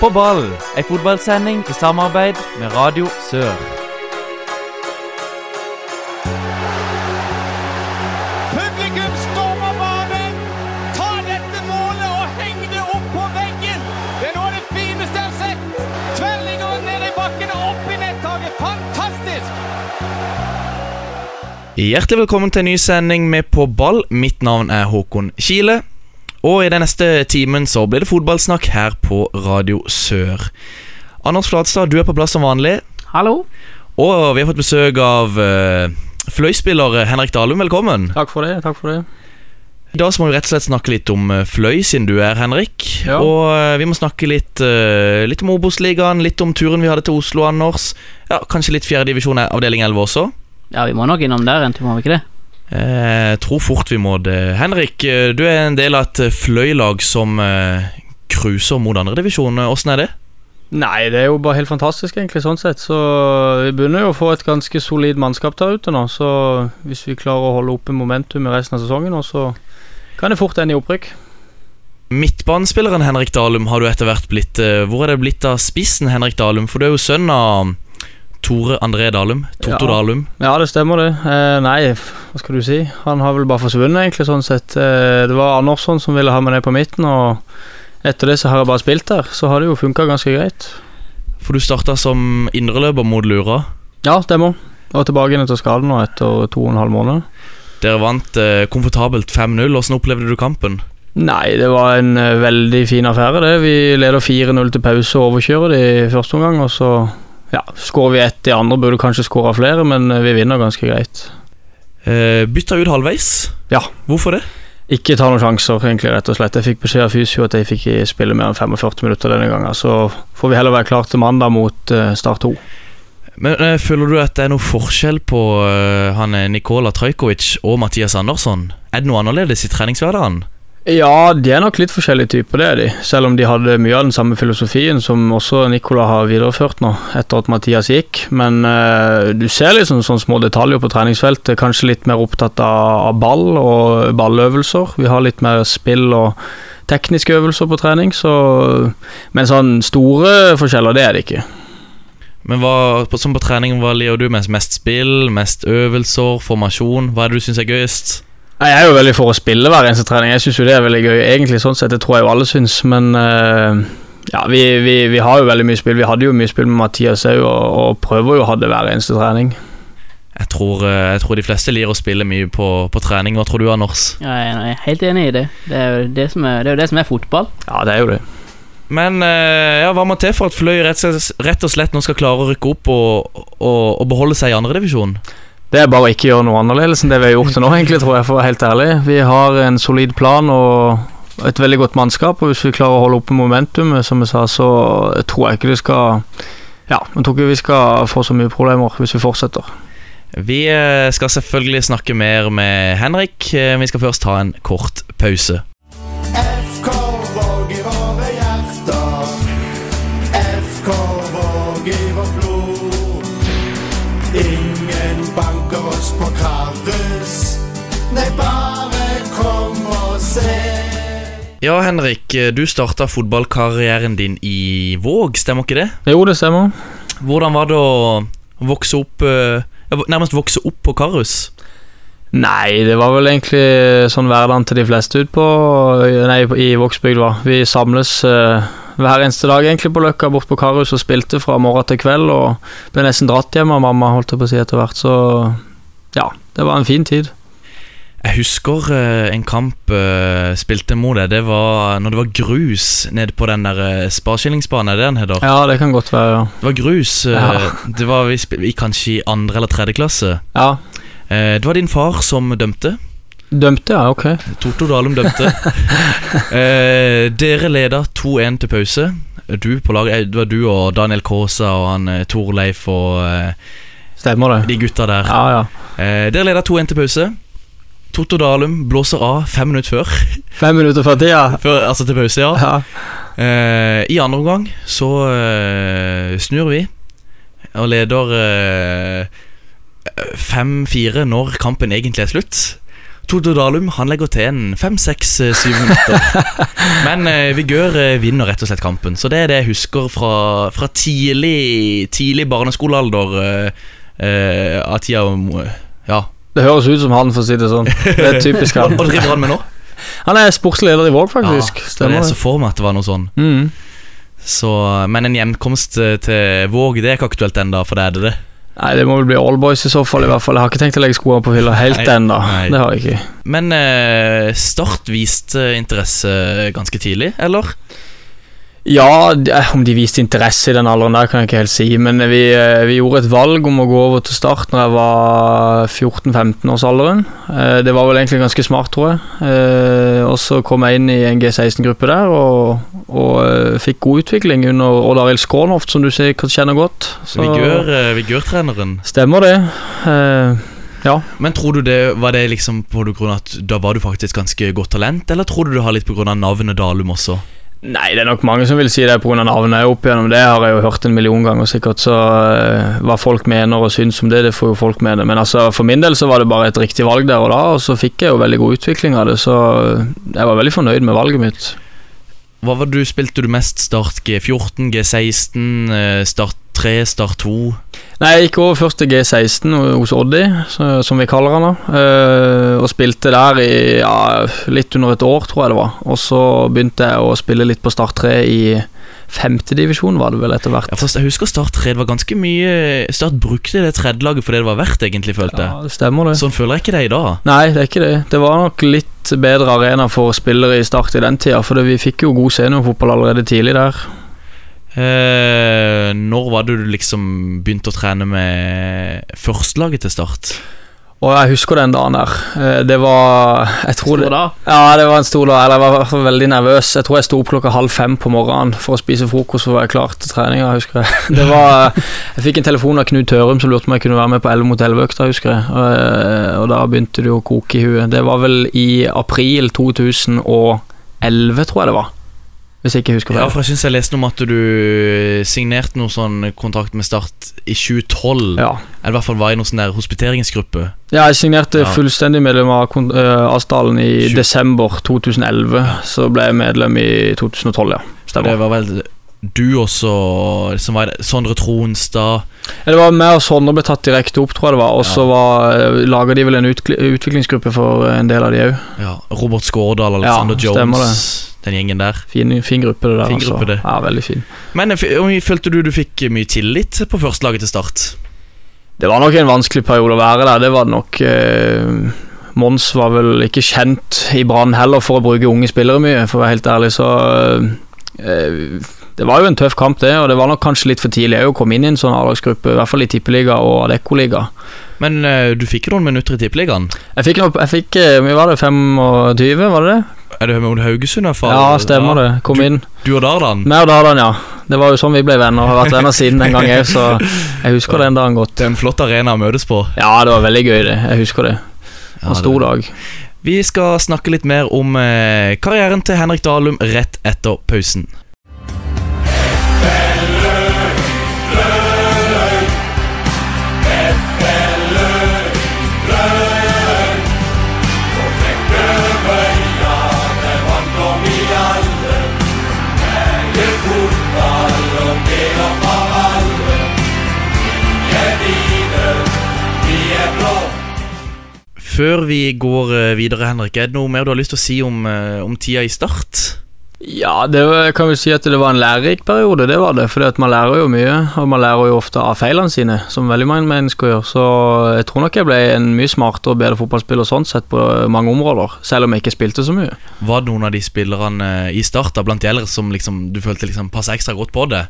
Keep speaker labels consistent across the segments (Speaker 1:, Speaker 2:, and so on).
Speaker 1: På ball, ei fotballsending i samarbeid med Radio Sør.
Speaker 2: Publikum stormer banen! Ta dette målet og heng det opp på veggen! Det er noe av det fineste jeg har sett! Tverrliggeren ned i bakken og opp i nettaket! Fantastisk!
Speaker 3: Hjertelig velkommen til en ny sending med På ball. Mitt navn er Håkon Kile. Og i den neste timen så blir det fotballsnakk her på Radio Sør. Anders Flatstad, du er på plass som vanlig.
Speaker 4: Hallo.
Speaker 3: Og vi har fått besøk av eh, fløyspiller Henrik Dalum. Velkommen.
Speaker 4: Takk for det. takk for det
Speaker 3: I dag så må vi rett og slett snakke litt om eh, fløy, siden du er Henrik.
Speaker 4: Ja.
Speaker 3: Og eh, vi må snakke litt, eh, litt om Obos-ligaen, litt om turen vi hadde til Oslo, Anders. Ja, Kanskje litt fjerdedivisjon avdeling 11 også.
Speaker 4: Ja, vi må nok innom der en tur, må vi ikke det?
Speaker 3: Jeg Eh, tror fort vi må det. Henrik, eh, du er en del av et eh, fløylag som eh, cruiser mot andredivisjon. Åssen er det?
Speaker 5: Nei, det er jo bare helt fantastisk, egentlig, sånn sett. Så vi begynner jo å få et ganske solid mannskap der ute nå. Så hvis vi klarer å holde oppe momentum i resten av sesongen, nå, så kan det fort ende i opprykk.
Speaker 3: Midtbanespilleren Henrik Dalum har du etter hvert blitt. eh, Hvor er det blitt av spissen Henrik Dalum? For du er jo sønn av Tore André Dalum. Totto
Speaker 5: Ja.
Speaker 3: Dalum.
Speaker 5: Ja, det stemmer, det. Eh, nei, f- hva skal du si. Han har vel bare forsvunnet, egentlig, sånn sett. Eh, det var Andersson som ville ha meg ned på midten, og etter det så har jeg bare spilt der. Så har det jo funka ganske greit.
Speaker 3: For du starta som indreløper mot Lura.
Speaker 5: Ja, stemmer. Og tilbake igjen etter skaden nå, etter to og en halv måned.
Speaker 3: Dere vant eh, komfortabelt 5-0. Åssen opplevde du kampen?
Speaker 5: Nei, det var en eh, veldig fin affære, det. Vi leder 4-0 til pause og overkjører de i første omgang, og så ja, skårer vi ett i andre. Burde kanskje skåra flere, men eh, vi vinner ganske greit.
Speaker 3: Eh, Bytta ut halvveis.
Speaker 5: Ja.
Speaker 3: Hvorfor det?
Speaker 5: Ikke ta noen sjanser, egentlig, rett og slett. Jeg fikk beskjed av fysio at jeg fikk ikke spille mer enn 45 minutter denne gangen, så får vi heller være klar til mandag mot eh, Start 2.
Speaker 3: Men eh, Føler du at det er noe forskjell på eh, han eh, Nikola Trajkovic og Mathias Andersson? Er det noe annerledes i treningshverdagen?
Speaker 5: Ja, de er nok litt forskjellige typer, det er de. Selv om de hadde mye av den samme filosofien som også Nicola har videreført nå, etter at Mathias gikk. Men eh, du ser liksom sånne små detaljer på treningsfeltet. Kanskje litt mer opptatt av, av ball og balløvelser. Vi har litt mer spill og tekniske øvelser på trening, så Men sånn store forskjeller, det er det ikke.
Speaker 3: Men hva, på- som på trening, hva liker du mest? Mest spill, mest øvelser, formasjon? Hva er det du syns er gøyest?
Speaker 5: Nei, Jeg er jo veldig for å spille hver eneste trening. Jeg syns jo det er veldig gøy, egentlig, sånn sett. Det tror jeg jo alle syns, men eh, ja, vi, vi, vi har jo veldig mye spill. Vi hadde jo mye spill med Mathias òg, og, og prøver jo å ha det hver eneste trening.
Speaker 3: Jeg tror, eh, jeg tror de fleste liker å spille mye på, på trening. Hva tror du, Anders?
Speaker 4: Ja, jeg er helt enig i det. Det er jo det som er, det er, jo det som er fotball.
Speaker 5: Ja, det er jo det.
Speaker 3: Men eh, ja, hva må til for at Fløy rett og slett- rett og slett nå skal klare å rykke opp og, og, og beholde seg i andredivisjon?
Speaker 5: Det er bare å ikke gjøre noe annerledes enn det vi har gjort til nå, egentlig, tror jeg, for å være helt ærlig. Vi har en solid plan og et veldig godt mannskap, og hvis vi klarer å holde oppe momentumet, som jeg sa, så tror jeg ikke det skal Ja, jeg tror ikke vi skal få så mye problemer hvis vi fortsetter.
Speaker 3: Vi eh, skal selvfølgelig snakke mer med Henrik. Eh, Vi skal først ta en kort pause.
Speaker 6: FK Våg i våre hjerter. FK Våg i vårt blod. Ingen banker oss på Karus. Nei, bare kom og se.
Speaker 3: Ja, Henrik, du starta fotballkarrieren din i Våg, stemmer ikke det?
Speaker 5: Jo, det stemmer.
Speaker 3: Hvordan var det å vokse opp eh, ja, Nærmest vokse opp på Karus?
Speaker 5: Nei, det var vel egentlig sånn hverdagen til de fleste ut på eh, Nei, i Vågsbygd, var. Vi samles eh, hver eneste dag egentlig på Løkka, bort på Karus, og spilte fra morgen til kveld. Og ble nesten dratt hjem av mamma, holdt jeg på å si, etter hvert. Så ja, det var en fin tid.
Speaker 3: Jeg husker eh, en kamp eh, spilte mot deg. Det var når det var grus nede på den der eh, sparskillingsbanen, er det den heter?
Speaker 5: Ja, det kan godt være, ja.
Speaker 3: Det var grus. eh,
Speaker 5: Ja.
Speaker 3: Det var vi, spil- i kanskje i andre eller tredje klasse.
Speaker 5: Ja,
Speaker 3: Eh, Det var din far som dømte.
Speaker 5: Dømte, ja, ok.
Speaker 3: Torto Dalum dømte. eh, dere leda 2-1 til pause. Du på laget, eh, det var du og Daniel Kaasa og han eh, Torleif og eh,
Speaker 5: Stemmer det.
Speaker 3: de gutta der.
Speaker 5: Ja, ja.
Speaker 3: Eh, dere leda 2-1 til pause. Torto Dalum blåser av fem minutter før.
Speaker 5: Fem minutter før tida.
Speaker 3: før altså til pause, ja.
Speaker 5: Ja.
Speaker 3: Eh, I andre omgang så eh, snur vi og leder eh, 5-4 når kampen egentlig er slutt. Toto Dalum han legger til en fem, seks, eh, syv minutter. Men eh, Vigør eh, vinner rett og slett kampen. Så det er det jeg husker fra, fra tidlig, tidlig barneskolealder eh, eh, av tida om eh, Ja.
Speaker 5: Det høres ut som han, for å si det sånn. Det er typisk
Speaker 3: Hva
Speaker 5: han.
Speaker 3: hva driver han med nå?
Speaker 5: Han er sportslig leder i Våg, faktisk.
Speaker 3: Ja, det er
Speaker 5: Stemmer
Speaker 3: det
Speaker 5: det.
Speaker 3: så for meg at det var noe sånn.
Speaker 5: Mm.
Speaker 3: Så, men en hjemkomst eh, til Våg det er ikke aktuelt ennå, for det er det det.
Speaker 5: Nei, det må vel bli All Boys i så fall. i hvert fall Jeg har ikke tenkt å legge skoene på hylla helt
Speaker 3: Nei,
Speaker 5: ennå.
Speaker 3: nei.
Speaker 5: Det har jeg ikke.
Speaker 3: Men eh, Start viste interesse eh, ganske tidlig, eller?
Speaker 5: Ja, d- eh, om de viste interesse i den alderen der, kan jeg ikke helt si. Men vi, eh, vi gjorde et valg om å gå over til Start når jeg var 14-15 års alderen. Eh, Det var vel egentlig ganske smart, tror jeg. Eh, Og så kom jeg inn i en G16-gruppe der og, og eh, fikk god utvikling under Odd Arild Skrånhoft, som du sikkert kjenner godt. Så-
Speaker 3: Vigør, eh, Vigør-treneren.
Speaker 5: Stemmer det. Eh,
Speaker 3: Men tror du det var det liksom på grunn av at da var du faktisk ganske godt talent, eller tror du det har litt på grunn av navnet Dalum også?
Speaker 5: Nei, det er nok mange som vil si det pga. navnet. Opp gjennom det har jeg jo hørt en million ganger sikkert, så eh, hva folk mener og syns om det, det får jo folk mene. Men altså, for min del så var det bare et riktig valg der og da, og så fikk jeg jo veldig god utvikling av det, så eh, jeg var veldig fornøyd med valget mitt.
Speaker 3: Hva var du, Spilte du mest Start G14, G16, eh, Start 3, Start 2?
Speaker 5: Nei, jeg gikk over først til G16 hos Oddi, så- som vi kaller han da, eh, og spilte der i ja, litt under et år, tror jeg det var. Og så begynte jeg å spille litt på Start 3 i femtedivisjon, var det vel etter hvert.
Speaker 3: Ja, for jeg husker Start 3 det var ganske mye Start brukte det tredjelaget for det det var verdt, egentlig, følte jeg.
Speaker 5: Ja, det stemmer det.
Speaker 3: Sånn føler jeg ikke det i dag.
Speaker 5: Nei, det er ikke det. Det var nok litt bedre arena for spillere i Start i den tida, for det- vi fikk jo god seniorfotball allerede tidlig der.
Speaker 3: Eh, når var det du liksom begynte å trene med førstelaget til Start?
Speaker 5: Og jeg husker den dagen der. Eh, Det var Jeg tror
Speaker 4: Stor
Speaker 5: det
Speaker 4: da.
Speaker 5: Ja, det var en stor dag. Eller jeg var i hvert fall veldig nervøs. Jeg tror jeg sto opp klokka halv fem på morgenen for å spise frokost for å være klar til treninga, husker jeg. Det var Jeg fikk en telefon av Knut Tørum som lurte om jeg kunne være med på 11 mot 11-økta, husker jeg. Eh, Og da begynte det jo å koke i huet. Det var vel i april 2011, tror jeg det var. Hvis jeg ikke husker feil.
Speaker 3: Ja, for Jeg synes jeg leste om at du eh, signerte noe sånn kontrakt med Start i 2012.
Speaker 5: Ja.
Speaker 3: Eller i hvert fall var i noen sånn der hospiteringsgruppe.
Speaker 5: Ja, jeg signerte
Speaker 3: Ja.
Speaker 5: fullstendig medlem av kon- eh, avtalen i
Speaker 3: Sju-
Speaker 5: desember 2011. Så ble jeg medlem i 2012, ja.
Speaker 3: Det
Speaker 5: Stemmer.
Speaker 3: var vel du også som var Sondre Tronstad.
Speaker 5: Ja, Det var meg og Sondre ble tatt direkte opp, tror jeg det var. Og så var- laga de vel en utkli- utviklingsgruppe for en del av de òg.
Speaker 3: Ja, Robert Skårdal, Alexander
Speaker 5: Ja, stemmer
Speaker 3: Jones. Den gjengen der.
Speaker 5: Fin, fin gruppe, det der. altså.
Speaker 3: Fin gruppe, det.
Speaker 5: Ja, veldig fin.
Speaker 3: Men eh, f- følte du du fikk mye tillit på førstelaget til Start?
Speaker 5: Det var nok en vanskelig periode å være der. Det var det nok eh, Mons var vel ikke kjent i Brann heller for å bruke unge spillere mye, for å være helt ærlig, så eh, Det var jo en tøff kamp, det, og det var nok kanskje litt for tidlig òg å komme inn i en sånn A-lagsgruppe, i hvert fall i Tippeliga og Adeccoliga.
Speaker 3: Men eh, du fikk jo noen minutter i Tippeligaen.
Speaker 5: Jeg fikk, nok- jeg fikk eh, Hvor mye var det? 25, var det det?
Speaker 3: Er det mot Haugesund? i hvert fall?
Speaker 5: Ja, stemmer det. Kom
Speaker 3: Du-
Speaker 5: inn.
Speaker 3: Du og Dardan?
Speaker 5: Meg og Dardan, ja. Det var jo sånn vi ble venner, og har vært venner siden den gang òg, så jeg husker den dagen godt.
Speaker 3: Det er en flott arena å møtes på.
Speaker 5: Ja, det var veldig gøy, det. Jeg husker det. Det var En stor dag.
Speaker 3: Vi skal snakke litt mer om eh, karrieren til Henrik Dalum rett etter pausen. Før vi går eh, videre, Henrik, er det noe mer du har lyst til å si om, eh, om tida i Start?
Speaker 5: Ja, det var, jeg kan vel si at det var en lærerik periode, det var det. Fordi at man lærer jo mye, og man lærer jo ofte av feilene sine, som veldig mange mennesker gjør. Så jeg tror nok jeg ble en mye smartere og bedre fotballspiller sånn sett på mange områder, selv om jeg ikke spilte så mye.
Speaker 3: Var det noen av de spillerne eh, i Start da, blant de eldre som liksom, du følte liksom passa ekstra godt på det?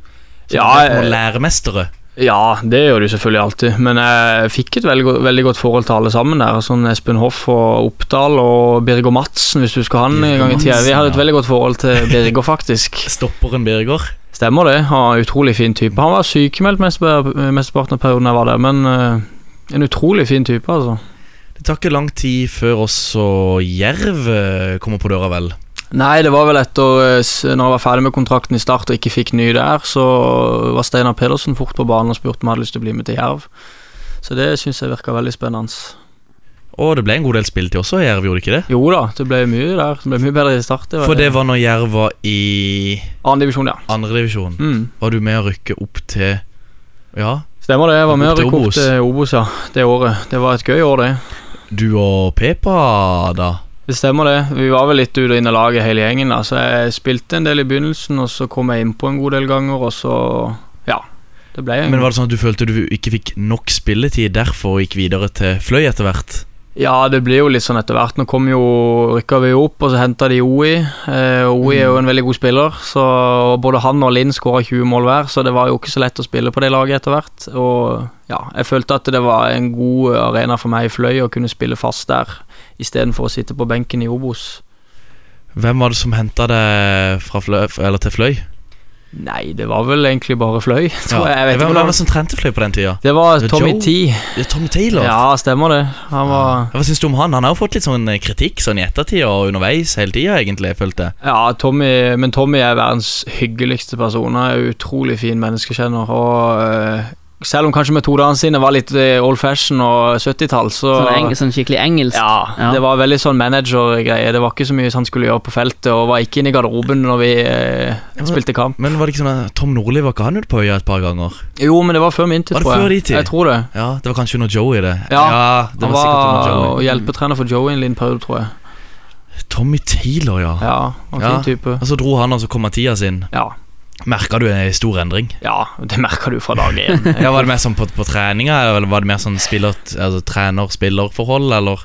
Speaker 3: Som
Speaker 5: Ja,
Speaker 3: ble på
Speaker 5: eh,
Speaker 3: læremestere?
Speaker 5: Ja, det gjør du selvfølgelig alltid, men jeg fikk et veldig, go- veldig godt forhold til alle sammen der. Sånn Espen Hoff og Oppdal og Birger Madsen, hvis du husker han en gang i tida. Vi hadde et
Speaker 3: Birger Madsen, ja.
Speaker 5: veldig godt forhold til Birger, faktisk.
Speaker 3: Stopperen Birger?
Speaker 5: Stemmer det. Han var en utrolig fin type. Han var sykemeldt meste- mesteparten av perioden jeg var der, men eh, en utrolig fin type, altså.
Speaker 3: Det tar ikke lang tid før også Jerv eh, kommer på døra, vel?
Speaker 5: Nei, det var vel etter eh, s- Når jeg var ferdig med kontrakten i Start og ikke fikk ny der, så var Steinar Pedersen fort på banen og spurte om jeg hadde lyst til å bli med til Jerv. Så det syns jeg virka veldig spennende.
Speaker 3: Og det ble en god del spilletid også, Jerv gjorde ikke det?
Speaker 5: Jo da, det ble mye der. Det ble mye bedre i start.
Speaker 3: For det var når Jerv var i
Speaker 5: Annen divisjon, ja.
Speaker 3: andredivisjon.
Speaker 5: Mm.
Speaker 3: Var du med å rykke opp til Ja,
Speaker 5: Stemmer det. Jeg var med og
Speaker 3: Opp til
Speaker 5: rykket opp
Speaker 3: Obos.
Speaker 5: til Obos ja, det året. Det var et gøy år, det.
Speaker 3: du og Pepa, da?
Speaker 5: Det stemmer, det. Vi var vel litt ut og inn av laget, hele gjengen. da, Så jeg spilte en del i begynnelsen, og så kom jeg innpå en god del ganger, og så Ja. Det ble en
Speaker 3: Men var det sånn at du følte du ikke fikk nok spilletid, derfor gikk videre til Fløy etter hvert?
Speaker 5: Ja, det blir jo litt sånn etter hvert. Nå kom jo rykka vi jo opp, og så henta de OI. Eh, OI
Speaker 3: Mm.
Speaker 5: er jo en veldig god spiller, så og både han og Linn skåra 20 mål hver, så det var jo ikke så lett å spille på det laget etter hvert. Og ja, jeg følte at det var en god arena for meg i Fløy å kunne spille fast der, istedenfor å sitte på benken i Obos.
Speaker 3: Hvem var det som henta deg fra fløy, eller til Fløy?
Speaker 5: Nei, det var vel egentlig bare Fløy, tror jeg. jeg vet
Speaker 3: Hvem
Speaker 5: ikke
Speaker 3: var det
Speaker 5: hvordan.
Speaker 3: som trente Fløy på den tida?
Speaker 5: Det var
Speaker 3: Det var
Speaker 5: Tommy
Speaker 3: Joe?
Speaker 5: T.
Speaker 3: Ja, Tom Taylor?
Speaker 5: Ja, stemmer det. Han var
Speaker 3: Hva syns du om han? Han har jo fått litt sånn eh, kritikk sånn i ettertid og underveis hele tida, egentlig, følte jeg.
Speaker 5: Ja, Tommy, men Tommy er verdens hyggeligste person. Han er en utrolig fin menneskekjenner. Og eh, selv om kanskje metodene sine var litt eh, old fashion og 70-tall, så
Speaker 4: Sånn, eng, sånn skikkelig engelsk.
Speaker 5: ja,
Speaker 4: Ja.
Speaker 5: det var veldig sånn managergreie. Det var ikke så mye han skulle gjøre på feltet, og var ikke inne i garderoben når vi eh,
Speaker 3: men-
Speaker 5: spilte kamp.
Speaker 3: Men var det ikke sånn at Tom Nordli var ikke han ute på øya et par ganger?
Speaker 5: Jo, men det var før min tid,
Speaker 3: Var det
Speaker 5: tror jeg.
Speaker 3: før din tid?
Speaker 5: Jeg tror det.
Speaker 3: Ja, Det var kanskje under Joey, det.
Speaker 5: Ja,
Speaker 3: det
Speaker 5: han
Speaker 3: var, sikkert
Speaker 5: var
Speaker 3: under Joey.
Speaker 5: hjelpetrener for Joey en liten periode, tror jeg.
Speaker 3: Tommy Taylor, ja.
Speaker 5: Ja, han var en
Speaker 3: Ja.
Speaker 5: fin type.
Speaker 3: Og så dro han, altså, og så kom Mathias inn.
Speaker 5: Ja,
Speaker 3: Merka du en stor endring?
Speaker 5: ja, det merker du fra dag én.
Speaker 3: Ja, Var det mer sånn på, på treninga, eller var det mer sånn spiller, altså, trener-spiller-forhold, eller?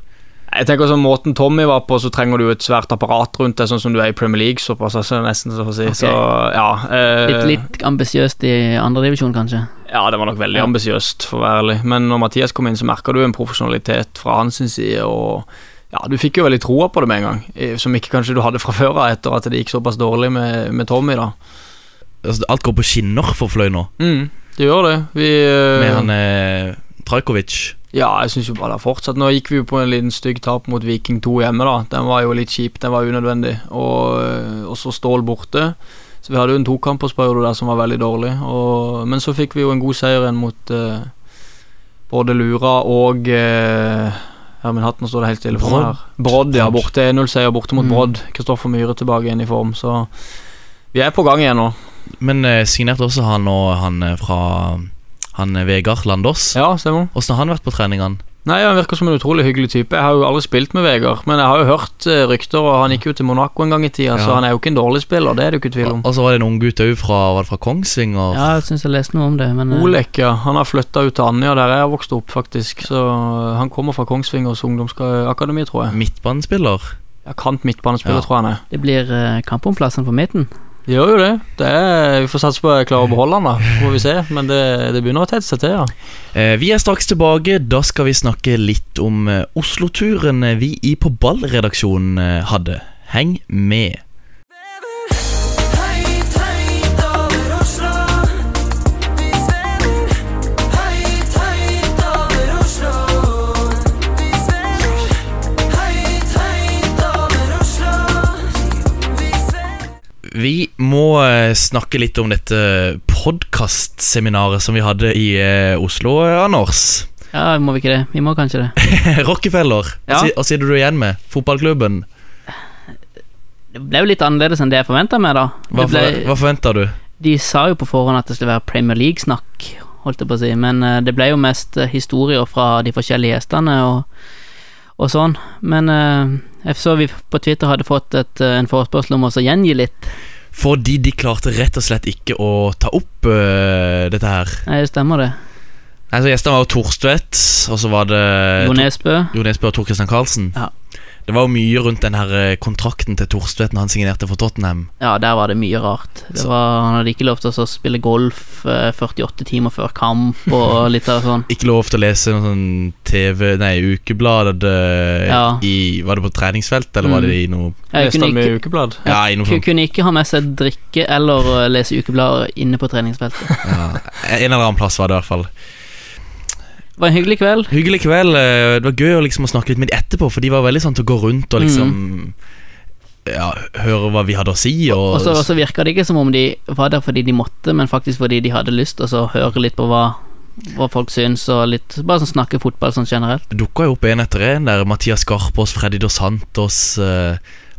Speaker 5: Jeg tenker sånn Måten Tommy var på, så trenger du jo et svært apparat rundt deg, sånn som du er i Premier League. såpass, altså, nesten så å si.
Speaker 4: Ok.
Speaker 5: Så, ja, eh,
Speaker 4: Litt, litt ambisiøst i andredivisjon, kanskje.
Speaker 5: ja, det var nok veldig
Speaker 4: Ja.
Speaker 5: ambisiøst, for å være ærlig. Men når Mathias kom inn, så merka du en profesjonalitet fra hans side. og ja, Du fikk jo veldig troa på det med en gang, eh, som ikke kanskje du hadde fra før av, etter at det gikk såpass dårlig med, med Tommy. da.
Speaker 3: Altså, alt går på skinner for Fløy nå,
Speaker 5: Mm, det gjør det. Vi, eh,
Speaker 3: med han eh, Trajkovic.
Speaker 5: Ja, jeg syns jo bare det har fortsatt. Nå gikk vi jo på en liten stygg tap mot Viking 2 hjemme, da. Den var jo litt kjip, den var unødvendig. Og, øh, og så Stål borte. Så vi hadde jo en tokampersperiode der som var veldig dårlig. Og, men så fikk vi jo en god seier igjen mot øh, både Lura og øh, Herman Hatten, nå står det helt stille for meg her. Brodd, ja. Borte 1-0-seier borte mot
Speaker 4: Mm.
Speaker 5: Brodd. Kristoffer Myhre tilbake igjen i form, så vi er på gang igjen nå.
Speaker 3: Men eh, signerte også han og han eh, fra han eh, Vegard Landås.
Speaker 5: Ja, stemmer.
Speaker 3: Åssen har han vært på treningene?
Speaker 5: Nei, Han virker som en utrolig hyggelig type. Jeg har jo aldri spilt med Vegard, men jeg har jo hørt eh, rykter, og han gikk jo til Monaco en gang i tida, så
Speaker 3: Ja.
Speaker 5: han er jo ikke en dårlig spiller, det er det jo ikke tvil om.
Speaker 3: Og så var det en unggutt òg fra, var det fra Kongsvinger.
Speaker 4: Ja, jeg syns jeg leste noe om det, men eh,
Speaker 5: Olek, ja. Han har flytta ut til Andøya, der jeg har vokst opp, faktisk. Så eh, han kommer fra Kongsvingers ungdomsakademi, tror jeg.
Speaker 3: Midtbanespiller.
Speaker 5: Ja, kant midtbanespiller,
Speaker 3: Ja.
Speaker 5: tror jeg han er.
Speaker 4: det blir eh, kamp om plassen på midten.
Speaker 5: Det Gjør jo det. det er, vi får satse på at jeg klarer å beholde han, da. Så Får vi se. Men det, det begynner å tette seg til, ja.
Speaker 3: Eh, vi er straks tilbake. Da skal vi snakke litt om eh, Oslo-turen eh, vi i På ball-redaksjonen eh, hadde. Heng med.
Speaker 7: Høyt, høyt over Oslo. Vi svever. Høyt, høyt over Oslo. Vi svever. Høyt, høyt over Oslo. Vi svever.
Speaker 3: Vi må eh, snakke litt om dette podkastseminaret som vi hadde i eh, Oslo, eh, Anders.
Speaker 4: Ja, må vi ikke det? Vi må kanskje det.
Speaker 3: Rockefeller.
Speaker 4: Ja.
Speaker 3: Hva sitter du igjen med? Fotballklubben.
Speaker 4: Det ble jo litt annerledes enn det jeg forventa meg, da. Det
Speaker 3: Hva,
Speaker 4: ble,
Speaker 3: for, hva forventer du?
Speaker 4: de sa jo på forhånd at det skulle være Premier League-snakk, holdt jeg på å si, men eh, det ble jo mest eh, historier fra de forskjellige gjestene og, og sånn. Men eh, jeg så vi på Twitter hadde fått et, eh, en forespørsel om oss å gjengi litt.
Speaker 3: Fordi de klarte rett og slett ikke å ta opp øh, dette her.
Speaker 4: Nei, det Eh, stemmer det.
Speaker 3: Altså Gjestene var jo Torstvedt, og så var det
Speaker 4: Jo Nesbø.
Speaker 3: Tor- Jo Nesbø og Tor Christian Karlsen.
Speaker 4: Ja.
Speaker 3: Det var jo mye rundt den her øh, kontrakten til Torstvedt når han signerte for Tottenham.
Speaker 4: Ja, der var det mye rart. Det
Speaker 3: Så-
Speaker 4: var, han hadde ikke lov til å spille golf eh, 48 timer før kamp og litt av sånn.
Speaker 3: Ikke lov til å lese noen sånn TV Nei, ukeblad øh,
Speaker 4: Ja.
Speaker 3: i Var det på treningsfelt, eller
Speaker 4: Mm.
Speaker 3: var det i noe
Speaker 5: Leste
Speaker 4: Jeg kunne
Speaker 5: han i
Speaker 4: ikke,
Speaker 5: ukeblad.
Speaker 3: Ja, i noe
Speaker 4: ku-
Speaker 3: sånt.
Speaker 4: kunne ikke ha med seg drikke eller eh, lese ukeblader inne på treningsfeltet.
Speaker 3: Ja. En eller annen plass var det i hvert fall.
Speaker 4: Det var en hyggelig kveld.
Speaker 3: Hyggelig kveld. eh, Det var gøy å liksom å snakke litt med de etterpå, for de var veldig sånn til å gå rundt og liksom Ja, høre hva vi hadde å si. Og,
Speaker 4: Og så og så virka det ikke som om de var der fordi de måtte, men faktisk fordi de hadde lyst, og så høre litt på hva hva folk syns, og litt Bare sånn snakke fotball sånn generelt.
Speaker 3: Dukka jo opp en etter en der Mathias Skarpaas, Freddy Dos Santos, eh,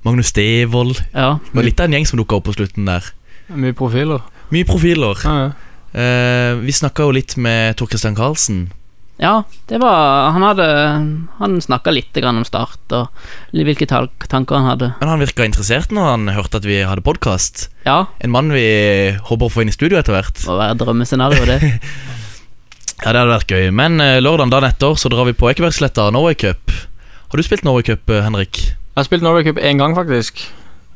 Speaker 3: Magnus Devold
Speaker 4: Ja.
Speaker 3: Det var litt av en gjeng som dukka opp på slutten der.
Speaker 5: Mye profiler.
Speaker 3: Mye profiler.
Speaker 5: Ja, ja.
Speaker 3: Eh, vi snakka jo litt med Tor Christian Karlsen.
Speaker 4: Ja, det var Han hadde Han snakka litt grann om Start og li- hvilke tal- tanker han hadde.
Speaker 3: Men han virka interessert når han hørte at vi hadde podkast.
Speaker 4: Ja,
Speaker 3: En mann vi håper å få inn i studio etter hvert.
Speaker 4: det må være drømmescenario, det.
Speaker 3: Ja, det hadde vært gøy. Men eh, lørdagen dagen etter så drar vi på Ekebergsletta Norway Cup. Har du spilt Norway Cup, eh, Henrik?
Speaker 5: Jeg har spilt Norway Cup én gang, faktisk.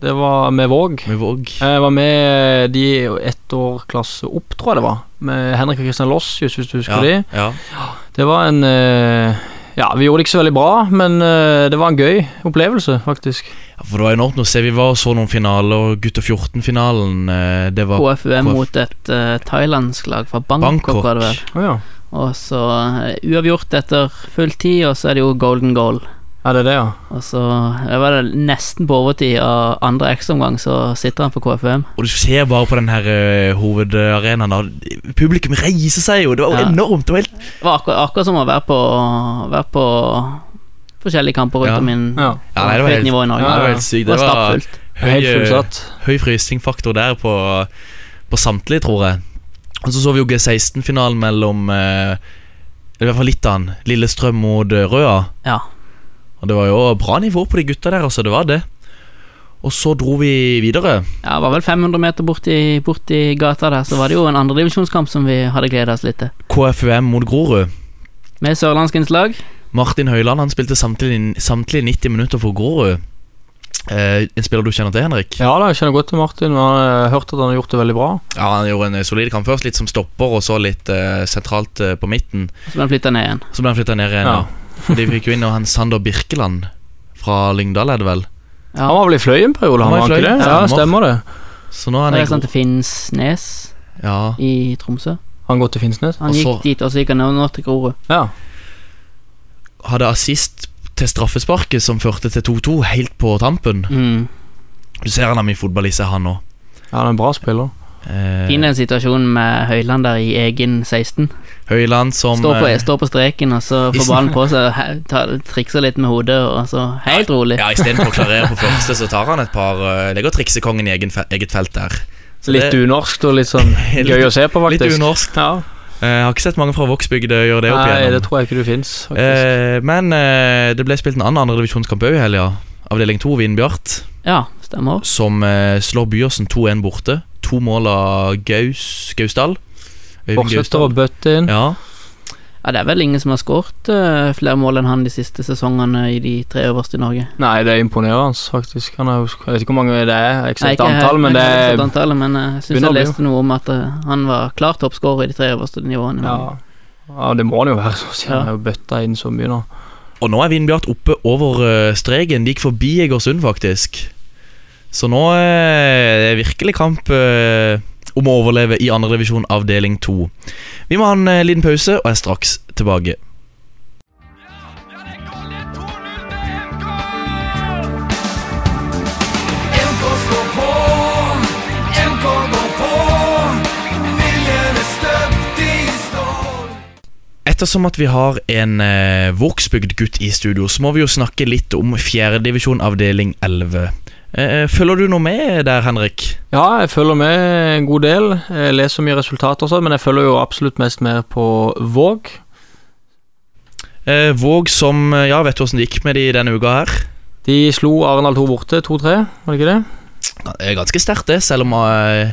Speaker 5: Det var med Våg.
Speaker 3: Med Våg.
Speaker 5: Jeg var med eh, de ett år klasse opp, tror jeg det var. Med Henrik og Christian Lossius, hvis du husker
Speaker 3: Ja,
Speaker 5: de.
Speaker 3: ja.
Speaker 5: Det var en eh, Ja, vi gjorde det ikke så veldig bra, men eh, det var en gøy opplevelse, faktisk.
Speaker 3: Ja, For det var enormt å se. Vi var og så noen finaler. Gutter 14-finalen. eh, Det var
Speaker 4: KFUM mot et eh, thailandsk lag fra Bangkok,
Speaker 3: Bangkok.
Speaker 4: var det vel.
Speaker 5: Å ja.
Speaker 4: Og så eh, uavgjort etter full tid, og så er det jo golden goal.
Speaker 5: Er det det, ja?
Speaker 4: Og så det var det nesten på overtid av andre ekstraomgang, så sitter han for KFUM.
Speaker 3: Og du ser bare på den her eh, hovedarenaen. da. Publikum reiser seg jo! Det var jo
Speaker 4: Ja.
Speaker 3: enormt. Det var helt
Speaker 4: Det var akkurat, akkurat som å være på, være på forskjellige kamper rundt
Speaker 3: Ja.
Speaker 4: om i
Speaker 5: ja.
Speaker 3: Ja, nei, det var
Speaker 4: høyt
Speaker 3: helt-
Speaker 4: nivå i Norge.
Speaker 5: Ja, det var
Speaker 3: helt sykt.
Speaker 4: Det
Speaker 3: Det
Speaker 4: var
Speaker 3: var-
Speaker 4: stappfullt.
Speaker 5: Helt
Speaker 3: høy, eh,
Speaker 5: fullsatt.
Speaker 3: høy frysingfaktor der på, på samtlige, tror jeg. Og så så vi jo G16-finalen mellom eh, I hvert fall litt av den. Lillestrøm mot eh, Røa.
Speaker 4: Ja.
Speaker 3: Og det var jo bra nivå på de gutta der, altså. Det var det. Og så dro vi videre.
Speaker 4: Ja, det var vel 500 meter borti, borti gata der, så var det jo en andredivisjonskamp som vi hadde gleda oss litt til.
Speaker 3: KFUM mot Grorud.
Speaker 4: Med sørlandskens lag.
Speaker 3: Martin Høiland han spilte samtlige, samtlige 90 minutter for Grorud. Eh, en spiller du kjenner til, Henrik?
Speaker 5: Ja da, jeg kjenner godt til Martin. Og jeg har eh, hørt at han har gjort det veldig bra.
Speaker 3: Ja, Han gjorde en eh, solid kamp først, litt som stopper, og så litt eh, sentralt eh, på midten.
Speaker 4: Så ble han flytta ned igjen.
Speaker 3: Så ble han flytta ned igjen.
Speaker 5: Ja.
Speaker 3: Ja. De fikk jo inn og han Sander Birkeland fra Lyngdal, er det vel.
Speaker 4: Ja.
Speaker 5: Han var vel i Fløy en periode, han
Speaker 3: Han var i
Speaker 5: var ikke det?
Speaker 3: Fløy,
Speaker 5: Ja,
Speaker 3: stemmer.
Speaker 5: stemmer det.
Speaker 3: Så nå er
Speaker 4: Han
Speaker 3: han i
Speaker 4: reiste han
Speaker 3: god
Speaker 4: sånn til Finnsnes
Speaker 3: ja.
Speaker 4: i Tromsø.
Speaker 5: Han går til Finnsnes?
Speaker 4: Han
Speaker 3: Og
Speaker 4: gikk
Speaker 3: så-
Speaker 4: dit, og så gikk han nå nå til Grorud.
Speaker 5: Ja.
Speaker 3: Hadde assist til straffesparket som førte til 2-2, helt på tampen.
Speaker 4: Mm.
Speaker 3: Du ser han har mye fotball i seg, han Eh, òg.
Speaker 5: ja, han er en bra spiller.
Speaker 4: Eh. Fin den situasjonen med Høyland der i egen 16.
Speaker 3: Høyland som
Speaker 4: Står på,
Speaker 3: eh,
Speaker 4: står på streken, og så får ballen på seg, he- tar- trikser litt med hodet, og så helt rolig.
Speaker 3: Ja, Istedenfor å klarere på første, så tar han et par eh, Legger triksekongen i egen fe eget felt der. Så
Speaker 5: Litt
Speaker 3: det,
Speaker 5: unorsk og litt sånn gøy å se på,
Speaker 3: litt
Speaker 5: faktisk.
Speaker 3: unorsk.
Speaker 5: Ja.
Speaker 3: Eh, jeg har ikke sett mange fra Vågsbygd eh, gjøre det opp
Speaker 5: Nei,
Speaker 3: igjennom.
Speaker 5: det tror jeg ikke du fins.
Speaker 3: Eh, men eh, det ble spilt en annen andredivisjonskamp òg i helga. Avdeling 2, Vindbjart,
Speaker 4: Ja, stemmer.
Speaker 3: som eh, slår Byåsen 2-1 borte. To mål av Gaus Gausdal. Øyvind
Speaker 5: Fortsetter å bøtte inn.
Speaker 3: Ja.
Speaker 4: Ja, Det er vel ingen som har skåret eh, flere mål enn han de siste sesongene i de tre øverste i Norge.
Speaker 5: Nei, det er imponerende, faktisk. Han er, jo- jeg vet ikke hvor mange det er,
Speaker 4: Nei,
Speaker 5: eksakt
Speaker 4: ikke
Speaker 5: antall,
Speaker 4: helt-
Speaker 5: men det
Speaker 4: ikke helt
Speaker 5: er
Speaker 4: antallet, men eh, jeg syns
Speaker 5: begynner
Speaker 4: jeg
Speaker 5: å bli,
Speaker 4: leste noe om at eh, han var klar toppskårer i de tre øverste nivåene.
Speaker 5: ja, ja, det må han jo være. Så sier han
Speaker 4: Ja.
Speaker 5: er jo bøtta inn så mye nå.
Speaker 3: Og nå er Vindbjart oppe over eh, streken. De gikk forbi Egersund, faktisk. Så nå eh, er det virkelig kamp eh, om å overleve i andredivisjon avdeling 2. Vi må ha en eh, liten pause og er straks tilbake.
Speaker 2: Ja, det er goal! Det er 2-0 til MK!
Speaker 7: MK står på, MK går på. Viljen er støpt i stål.
Speaker 3: Ettersom at vi har en eh, Vågsbygd-gutt i studio, så må vi jo snakke litt om fjerdedivisjon avdeling 11. Eh, eh, følger du noe med der, Henrik?
Speaker 5: Ja, jeg følger med en god del. Jeg leser mye resultater også, men jeg følger jo absolutt mest med på Våg.
Speaker 3: Eh, Våg som eh, Ja, vet du åssen det gikk med de denne uka her?
Speaker 5: De slo Arendal 2 borte, 2-3, var det ikke det?
Speaker 3: Det er ganske sterkt det, selv om eh,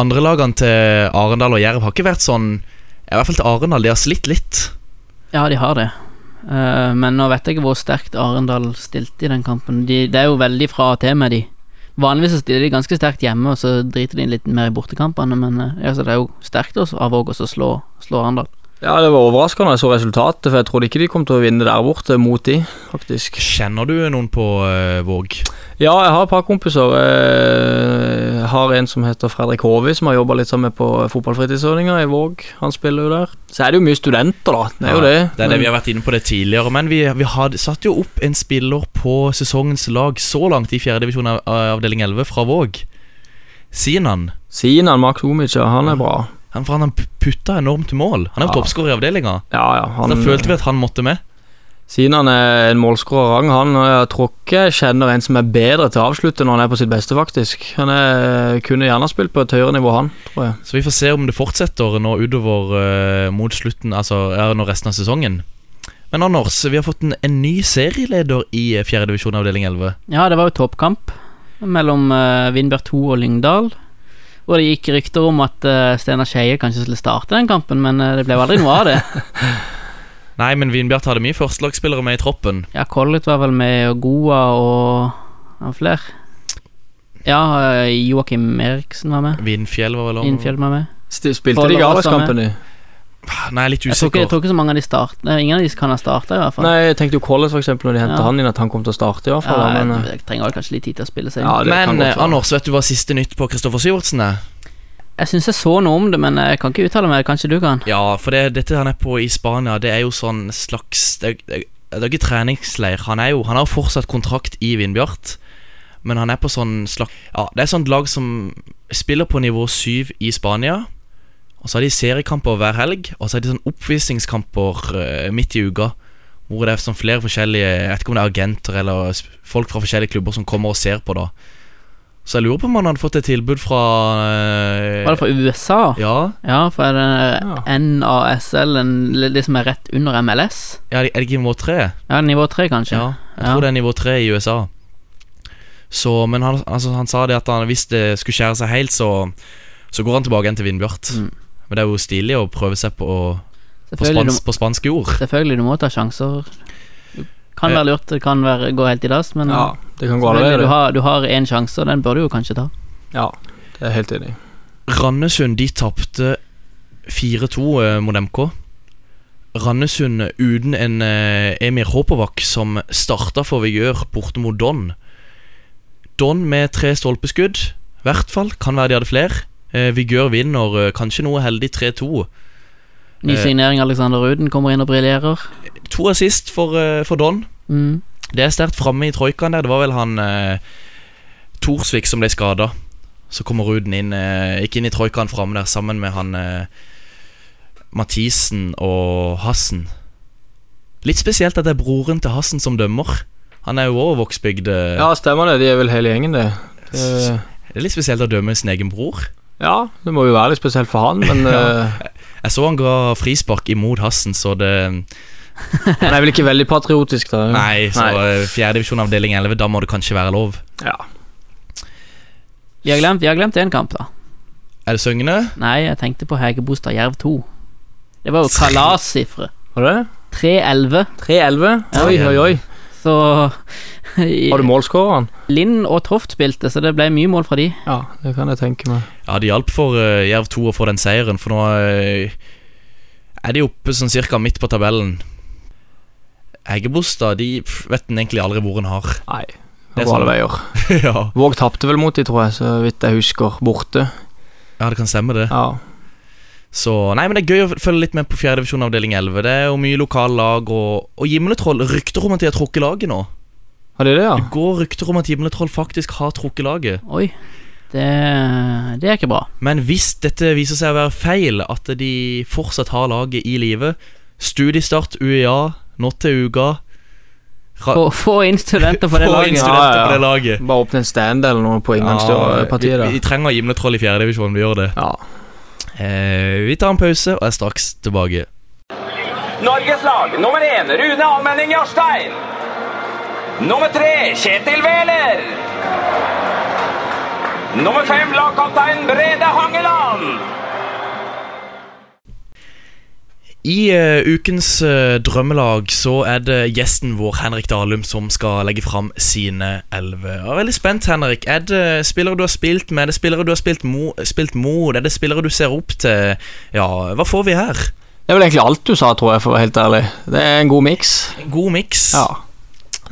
Speaker 3: andre lagene til Arendal og Jerv har ikke vært sånn I hvert fall til Arendal, de har slitt litt.
Speaker 4: Ja, de har det. Eh, men nå vet jeg ikke hvor sterkt Arendal stilte i den kampen. De, det er jo veldig fra og til med de. Vanligvis så stiller de ganske sterkt hjemme, og så driter de litt mer i bortekampene, men eh, ja, så det er jo sterkt også av Våg også å slå, slå Arendal.
Speaker 5: Ja, det var overraskende jeg så resultatet, for jeg trodde ikke de kom til å vinne der borte, mot de, faktisk.
Speaker 3: Kjenner du noen på eh, Våg?
Speaker 5: Ja, jeg har et par kompiser. Eh, Jeg har en som heter Fredrik Håvi, som har jobba litt sammen med på fotballfritidsordninga i Våg. Han spiller jo der. Så er det jo mye studenter, da. Det er jo det.
Speaker 3: Det er det Vi har vært inne på det tidligere, men vi, vi hadde, satt jo opp en spiller på sesongens lag så langt i 4. divisjon av, av avdeling 11 fra Våg. Sinan.
Speaker 5: Sinan Makhtomic, ja, han er bra.
Speaker 3: Han, for han han putta enormt mål. Han er jo
Speaker 5: Ja.
Speaker 3: toppskårer i avdelinga.
Speaker 5: Ja, ja.
Speaker 3: Så Da følte vi at han måtte med.
Speaker 5: Siden han er en målskårer av rang, han og jeg tror ikke jeg kjenner en som er bedre til å avslutte når han er på sitt beste, faktisk. Han er, kunne gjerne spilt på et høyere nivå, han, tror jeg.
Speaker 3: Så vi får se om det fortsetter nå utover eh, mot slutten, altså ja, nå resten av sesongen. Men Anders, vi har fått en, en ny serieleder i eh, fjerde divisjon avdeling 11.
Speaker 4: Ja, det var jo toppkamp mellom uh, Vindbjørg 2 og Lyngdal. Og det gikk rykter om at eh, Steinar Skeie kanskje skulle starte den kampen, men eh, det ble jo aldri noe av det.
Speaker 3: Nei, men Vinbjart hadde mye førstelagsspillere med i troppen.
Speaker 4: Ja, Collett var vel med, og Goa og ja, flere. Ja, eh, Joakim Eriksen var med.
Speaker 3: Vindfjell var vel også-
Speaker 4: Innfjell var med.
Speaker 5: Sti- Spilte
Speaker 4: Folle
Speaker 5: de
Speaker 4: var sammen.
Speaker 5: Gardaskampen, de?
Speaker 3: Nei, jeg er litt
Speaker 4: Jeg tror, ikke, jeg
Speaker 3: usikker.
Speaker 4: tror ikke så mange av de startet Nei, Ingen av de kan ha starta, i hvert fall.
Speaker 5: Nei, jeg tenkte jo Collins, for eksempel, når de hentet
Speaker 4: Ja.
Speaker 5: han inn, at han kom til å starte, i hvert fall. da,
Speaker 4: ja,
Speaker 5: men, eh,
Speaker 4: jeg, jeg trenger vel kanskje litt tid til å spille seg inn.
Speaker 5: Ja, det kan
Speaker 3: Men
Speaker 5: godt
Speaker 3: eh,
Speaker 5: være.
Speaker 3: Anders, vet du hva siste nytt på Kristoffer Syvertsen er?
Speaker 4: Jeg syns jeg så noe om det, men eh, jeg kan ikke uttale meg. Kanskje du kan?
Speaker 3: Ja, for det, dette han er på i Spania, det er jo sånn slags Det, er- det, er- det er ikke treningsleir. Han er jo Han har fortsatt kontrakt i Vindbjart, men han er på sånn slags Ja, det er sånt lag som spiller på nivå 7 i Spania. Og så har de seriekamper hver helg, og så har de sånn oppvisningskamper eh, midt i uka. Hvor det er sånn flere forskjellige Jeg vet ikke om det er agenter eller s- folk fra forskjellige klubber som kommer og ser på, da. Så jeg lurer på om han hadde fått et tilbud fra eh,
Speaker 4: Var det fra USA?
Speaker 3: Ja,
Speaker 4: Ja, for eh, er det
Speaker 5: Ja.
Speaker 4: NASL, en, det som er rett under MLS?
Speaker 3: ja, er det ikke nivå 3?
Speaker 4: Ja, nivå tre, kanskje.
Speaker 3: Ja, jeg tror det er nivå 3 i USA. Så, men han, altså, han sa det at han, hvis det skulle skjære seg helt, så, så går han tilbake igjen til Vindbjart.
Speaker 4: Mm.
Speaker 3: Men det er jo stilig å prøve seg på, på,
Speaker 4: selvfølgelig,
Speaker 3: spans, på spansk jord.
Speaker 4: du, selvfølgelig, du må ta sjanser. Du Kan
Speaker 3: Eh.
Speaker 4: være lurt, det kan være, gå helt i dass, men
Speaker 5: eh, ja, det kan gå
Speaker 4: selvfølgelig, du
Speaker 5: allerede.
Speaker 4: har- du har én sjanse, og den bør du jo kanskje ta.
Speaker 5: Ja, det er jeg helt enig. i.
Speaker 3: Randesund de tapte 4-2 eh, mot MK. Randesund uten en eh, Emir Håpovac som starta for Vigør borte mot Don. Don med tre stolpeskudd, i hvert fall. Kan være de hadde flere. Eh, Vigør vinner eh, kanskje noe heldig 3-2.
Speaker 4: Ny
Speaker 3: Eh.
Speaker 4: signering, Alexander Ruden kommer inn og briljerer.
Speaker 3: To assist for, eh, for Don.
Speaker 4: Mm.
Speaker 3: Det er sterkt framme i troikaen der. Det var vel han eh, Thorsvik som ble skada. Så kommer Ruden inn eh, Gikk inn i troikaen framme der sammen med han eh, Mathisen og Hassen. Litt spesielt at det er broren til Hassen som dømmer. Han er jo òg Vågsbygd. eh.
Speaker 5: Ja, stemmer det. De er vel hele gjengen, det. det
Speaker 3: Det er litt spesielt å dømme sin egen bror.
Speaker 5: ja, det må jo være litt spesielt for han, men eh,
Speaker 3: Jeg så han ga frispark imot Hassen, så
Speaker 5: Mm.
Speaker 3: det
Speaker 5: Han er vel ikke veldig patriotisk, da.
Speaker 3: Nei, så
Speaker 5: Nei.
Speaker 3: eh, fjerde divisjon avdeling 11, da må det kanskje være lov.
Speaker 5: Ja.
Speaker 4: Vi har glemt- vi har glemt én kamp, da.
Speaker 3: Er det Søgne?
Speaker 4: Nei, jeg tenkte på Hegebostad Jerv 2. Det var jo kalassifre.
Speaker 5: Var det det?
Speaker 4: 3-11,
Speaker 5: 3-11. Oi, oi, oi.
Speaker 4: så
Speaker 5: Har du målskåreren?
Speaker 4: Linn og Toft spilte, så det ble mye mål fra de.
Speaker 5: Ja, det kan jeg tenke meg.
Speaker 3: Ja, det hjalp for eh, Jerv 2 å få den seieren, for nå eh, er de oppe sånn cirka midt på tabellen. Eggebostad, de pff, vet en egentlig aldri hvor en har.
Speaker 5: Nei.
Speaker 3: Det
Speaker 5: Det
Speaker 3: er
Speaker 5: går
Speaker 3: sånn.
Speaker 5: alle veier.
Speaker 3: ja.
Speaker 5: Våg tapte vel mot de, tror jeg, så vidt jeg husker. Borte.
Speaker 3: ja, det kan stemme, det.
Speaker 5: Ja.
Speaker 3: Så, nei, men Det er gøy å følge litt med på 4. divisjon avdeling 11. Det er jo mye lokale lag. Og, og Gimletroll rykter om at de har trukket laget nå.
Speaker 5: Har de det, ja?
Speaker 3: Det går rykter om at Gimletroll faktisk har trukket laget.
Speaker 4: Oi, det, det er ikke bra.
Speaker 3: Men hvis dette viser seg å være feil, at de fortsatt har laget i live Studiestart UiA nå til uka. Ra-
Speaker 4: Få, få inn studenter på det
Speaker 3: Få
Speaker 4: laget.
Speaker 5: ja.
Speaker 3: inn studenter på det laget.
Speaker 5: Bare åpne en stand eller noe på inngangsdørpartiet
Speaker 3: vi, vi
Speaker 5: der.
Speaker 3: trenger Gimletroll i fjerdedivisjon. Vi gjør det.
Speaker 5: Ja.
Speaker 3: Eh, vi tar en pause og er straks tilbake.
Speaker 7: Norges lag nummer én Rune Almenning Jarstein. Nummer tre Kjetil Wæler. Nummer fem lagkaptein Brede Hangeland.
Speaker 3: I eh, ukens eh, drømmelag så er det gjesten vår, Henrik Dalum, som skal legge fram sine elleve. Jeg er veldig spent, Henrik. Er det spillere du har spilt med? Er det spillere du har spilt, mo spilt mot? Er det spillere du ser opp til? Ja, hva får vi her?
Speaker 5: Det er vel egentlig alt du sa, tror jeg, for å være helt ærlig. Det er en god miks.
Speaker 3: God miks.
Speaker 5: Ja.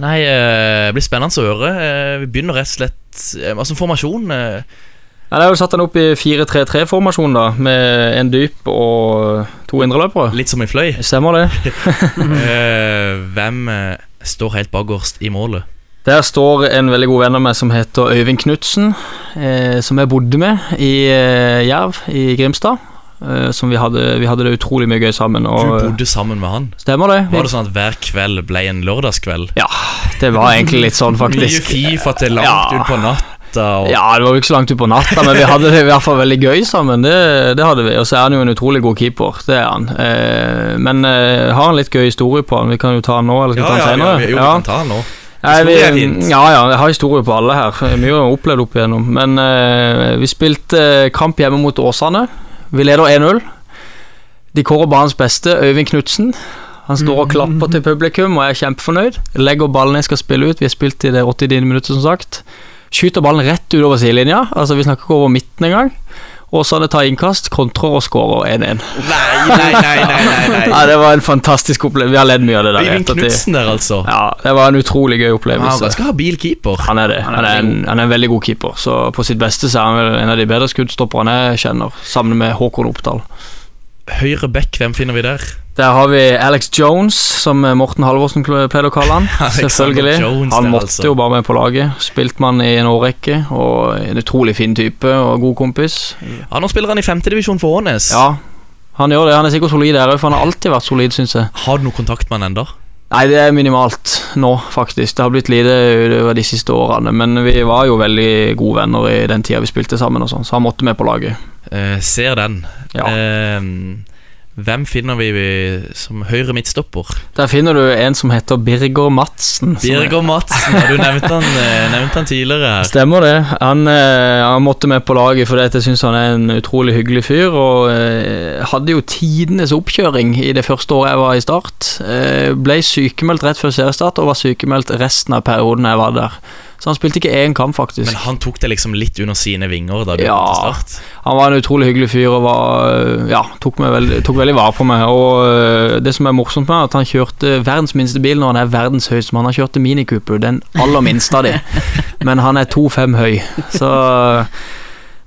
Speaker 3: Nei, eh, det blir spennende å høre. Eh, vi begynner rett og slett eh, Altså, formasjon eh,
Speaker 5: Ja, det er jo satt han opp i 4-3-3-formasjon, da, med en dyp og to indreløpere.
Speaker 3: Litt som i fløy.
Speaker 5: Stemmer det.
Speaker 3: Eh, hvem eh, står helt bakerst i målet?
Speaker 5: Der står en veldig god venn av meg som heter Øyvind Knutsen, eh, som jeg bodde med i eh, Jerv i Grimstad. eh, som vi hadde, vi hadde det utrolig mye gøy sammen.
Speaker 3: Du
Speaker 5: Og,
Speaker 3: bodde sammen med han.
Speaker 5: stemmer det?
Speaker 3: Var det sånn at hver kveld ble en lørdagskveld?
Speaker 5: Ja, det var egentlig litt sånn,
Speaker 3: Mye
Speaker 5: faktisk.
Speaker 3: Fifa til langt
Speaker 5: Ja.
Speaker 3: utpå natta. Og,
Speaker 5: Ja, det var jo ikke så langt ut på natta, men vi hadde det i hvert fall veldig gøy sammen. Det, det hadde vi, Og så er han jo en utrolig god keeper, det er han. Eh, men eh, har han litt gøy historie på han? Vi kan jo ta han nå, eller skal vi ta han
Speaker 3: ja, ja,
Speaker 5: senere?
Speaker 3: vi- jo, vi kan ta han nå.
Speaker 5: Nei,
Speaker 3: Historie er
Speaker 5: vi,
Speaker 3: fint.
Speaker 5: ja, ja, jeg har historie på alle her. Mye har jeg opplevd opp igjennom. Men eh, vi spilte eh, kamp hjemme mot Åsane. Vi leder 1-0. De kårer banens beste, Øyvind Knutsen. Han står og klapper til publikum og jeg er kjempefornøyd. Legger ballen jeg skal spille ut, vi har spilt i det 89. minuttet, som sagt. Skyter ballen rett utover sidelinja, altså vi snakker ikke over midten engang. Åsane tar innkast, kontrer og skårer 1-1.
Speaker 3: Nei, nei, nei, nei, nei,
Speaker 5: Ja, det var en fantastisk opplevelse. Vi har ledd mye av det der i
Speaker 3: Øyvind
Speaker 5: ettertid.
Speaker 3: Knutsen der, altså. Ah,
Speaker 5: Ja, det var en utrolig gøy
Speaker 3: Han er
Speaker 5: opplevelse.
Speaker 3: ganske habil keeper.
Speaker 5: Han er det. Han er, en, han er en veldig god keeper. Så På sitt beste så er han vel en av de bedre skuddstopperne jeg kjenner, sammen med Håkon Oppdal.
Speaker 3: Høyre back, hvem finner vi der?
Speaker 5: Der har vi Alex Jones, som Morten Halvorsen kl- pleide å kalle han.
Speaker 3: Alexander
Speaker 5: Selvfølgelig.
Speaker 3: Jones
Speaker 5: Han
Speaker 3: der,
Speaker 5: måtte
Speaker 3: altså.
Speaker 5: jo bare med på laget. Spilt man i en årrekke, og en utrolig fin type og god kompis.
Speaker 3: Ja, Nå spiller han i femtedivisjon for Ånes.
Speaker 5: Ja, han gjør det. Han er sikkert solid der òg, for han har alltid vært solid, syns jeg.
Speaker 3: Har du noe kontakt med han enda?
Speaker 5: Nei, det er minimalt nå, faktisk. Det har blitt lite utover de siste årene, men vi var jo veldig gode venner i den tida vi spilte sammen, og sånn, så han måtte med på laget.
Speaker 3: Eh, ser den.
Speaker 5: Ja.
Speaker 3: Eh, hvem finner vi vi- som høyre midtstopper?
Speaker 5: Der finner du en som heter Birger Madsen. som er-
Speaker 3: Birger Madsen. ja, Du nevnte han, eh, nevnte han tidligere her.
Speaker 5: Stemmer det. Han, eh, han måtte med på laget fordi at jeg syns han er en utrolig hyggelig fyr. Og eh, hadde jo tidenes oppkjøring i det første året jeg var i Start. Eh, ble sykemeldt rett før seriestart og var sykemeldt resten av perioden jeg var der. Så han spilte ikke én kamp, faktisk.
Speaker 3: Men han tok det liksom litt under sine vinger da du
Speaker 5: Ja.
Speaker 3: ja. til start.
Speaker 5: Han var en utrolig hyggelig fyr og var, øh, ja, tok, meg veld, tok veldig vare på meg. Og øh, Det som er morsomt med han, er at han kjørte verdens minste bil når han er verdens høyest. Men han kjørte Mini Cooper, den aller minste av de. Men han er 2,5 høy, så øh,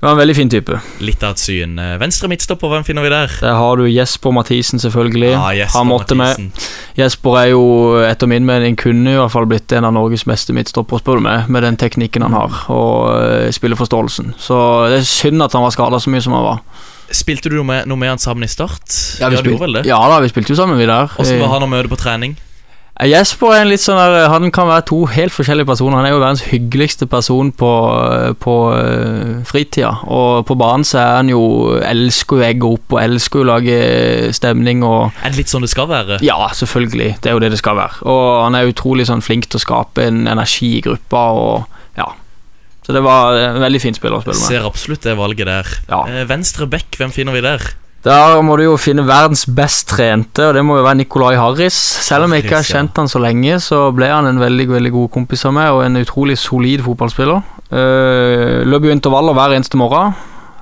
Speaker 5: det var en veldig fin type.
Speaker 3: Litt av et syn. Eh, Venstre midtstopper, hvem finner vi der?
Speaker 5: Der har du Jesper Mathisen, selvfølgelig.
Speaker 3: Ja, Ah, Jesper
Speaker 5: han måtte
Speaker 3: Mathisen.
Speaker 5: med. Jesper er jo, etter min mening, kunne i hvert fall blitt en av Norges beste midtstoppere, spør du meg, med den teknikken han har, og øh, spilleforståelsen. Så det er synd at han var skada så mye som han var.
Speaker 3: Spilte du noe med, noe med han sammen i start?
Speaker 5: vi
Speaker 3: du
Speaker 5: spilte-
Speaker 3: gjorde vel det?
Speaker 5: ja eh, da, vi spilte jo sammen, vi der.
Speaker 3: Åssen var han å møte på trening?
Speaker 5: Eh, Jesper er en litt sånn der, Han kan være to helt forskjellige personer. Han er jo verdens hyggeligste person på, på eh, fritida. Og på banen så er han jo Elsker jo egget opp og elsker jo å lage stemning og
Speaker 3: Er det litt sånn det skal være?
Speaker 5: Ja, selvfølgelig. Det er jo det det skal være. Og han er utrolig sånn flink til å skape en energi i gruppa og Ja. Så det var en veldig fin spiller å spille med.
Speaker 3: Ser absolutt det valget der.
Speaker 5: Ja.
Speaker 3: Eh, Venstre back, hvem finner vi der?
Speaker 5: Der må du jo finne verdens best trente, og det må jo være Nicolai Harris. Selv om jeg ikke har
Speaker 3: Harris, ja.
Speaker 5: kjent han så lenge, så ble han en veldig veldig god kompis av meg, og en utrolig solid fotballspiller. Uh, løp jo intervaller hver eneste morgen.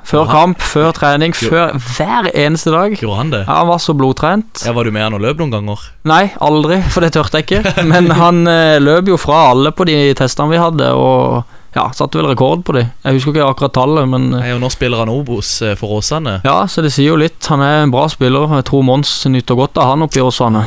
Speaker 5: Før
Speaker 3: Og han-
Speaker 5: kamp, før trening, før hver eneste dag.
Speaker 3: Gjorde han det?
Speaker 5: Ja, han var så blodtrent.
Speaker 3: Ja, Var du med han og løp noen ganger?
Speaker 5: Nei, aldri, for det tørte jeg ikke. Men han eh, løp jo fra alle på de testene vi hadde, og ja, satte vel rekord på de. Jeg husker ikke akkurat tallet, men eh,
Speaker 3: Nei, og Nå spiller han Obos eh, for Åsane.
Speaker 5: Ja, så det sier jo litt. Han er en bra spiller. Jeg tror Mons nyter godt av han oppe i Åsane.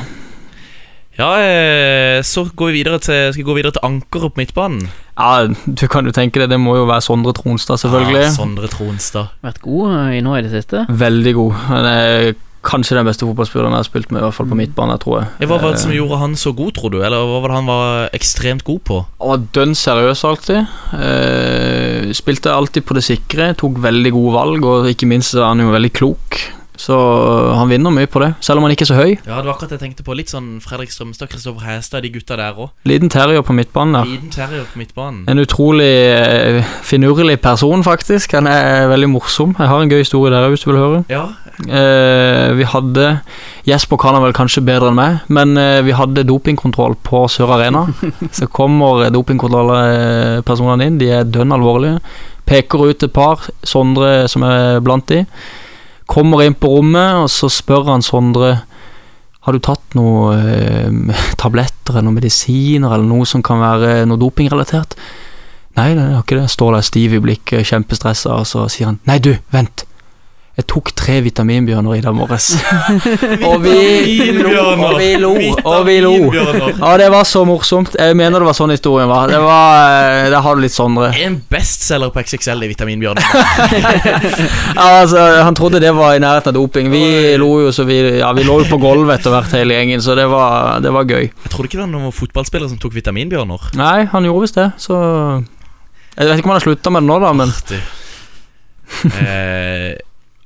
Speaker 3: Ja, eh, så går vi videre til, skal vi gå videre til anker opp midtbanen.
Speaker 5: Ja, du kan jo tenke det. Det må jo være Sondre Tronstad,
Speaker 3: Ja,
Speaker 5: selvfølgelig.
Speaker 3: Ah, Sondre Tronstad.
Speaker 4: Vært god eh, i nå i det siste.
Speaker 5: Veldig god. Han er kanskje den beste fotballspilleren jeg har spilt med, i hvert fall på midtbane, tror jeg.
Speaker 3: Ja, Eh, Hva var det som gjorde han så god, tror du? Eller hva var det han var ekstremt god på?
Speaker 5: Han var dønn seriøs alltid. Eh, spilte alltid på det sikre, tok veldig gode valg, og ikke minst er han jo veldig klok. Så han vinner mye på det, selv om han ikke er så høy.
Speaker 3: Ja, det var akkurat jeg tenkte på. Litt sånn Fredrik Strømstad, Kristoffer Hestad, de gutta der òg.
Speaker 5: Liten terrier på midtbanen der.
Speaker 3: Liten terrier på midtbanen.
Speaker 5: En utrolig eh, finurlig person, faktisk. Han er veldig morsom. Jeg har en gøy historie der hvis du vil høre.
Speaker 3: Ja,
Speaker 5: Eh, vi hadde Jesper kan han vel kanskje bedre enn meg, men eh, vi hadde dopingkontroll på Sør Arena. Så kommer dopingkontrollpersonene inn, de er dønn alvorlige. Peker ut et par, Sondre som er blant de. Kommer inn på rommet, og så spør han Sondre har du tatt noe eh, tabletter eller noe medisiner eller noe som kan være noe dopingrelatert? Nei, nei, jeg har ikke det. Jeg Står der stiv i blikket, kjempestressa, og så sier han nei, du, vent. Jeg tok tre vitaminbjørner i dag morges. og vi lo, og vi lo, og vi lo. Ja, det var så morsomt. Jeg mener det var sånn historien var. Det var, eh, Der har du litt Sondre.
Speaker 3: En bestselger på XXL i vitaminbjørn.
Speaker 5: Ja, altså, han trodde det var i nærheten av doping. Vi lo jo så vi Ja, vi lå jo på gulvet etter hvert, hele gjengen, så det var, det var gøy.
Speaker 3: Jeg trodde ikke det var noen fotballspillere som tok vitaminbjørner.
Speaker 5: Nei, han gjorde visst det, så Jeg vet ikke om han har slutta med det nå, da, men
Speaker 3: Du. Eh,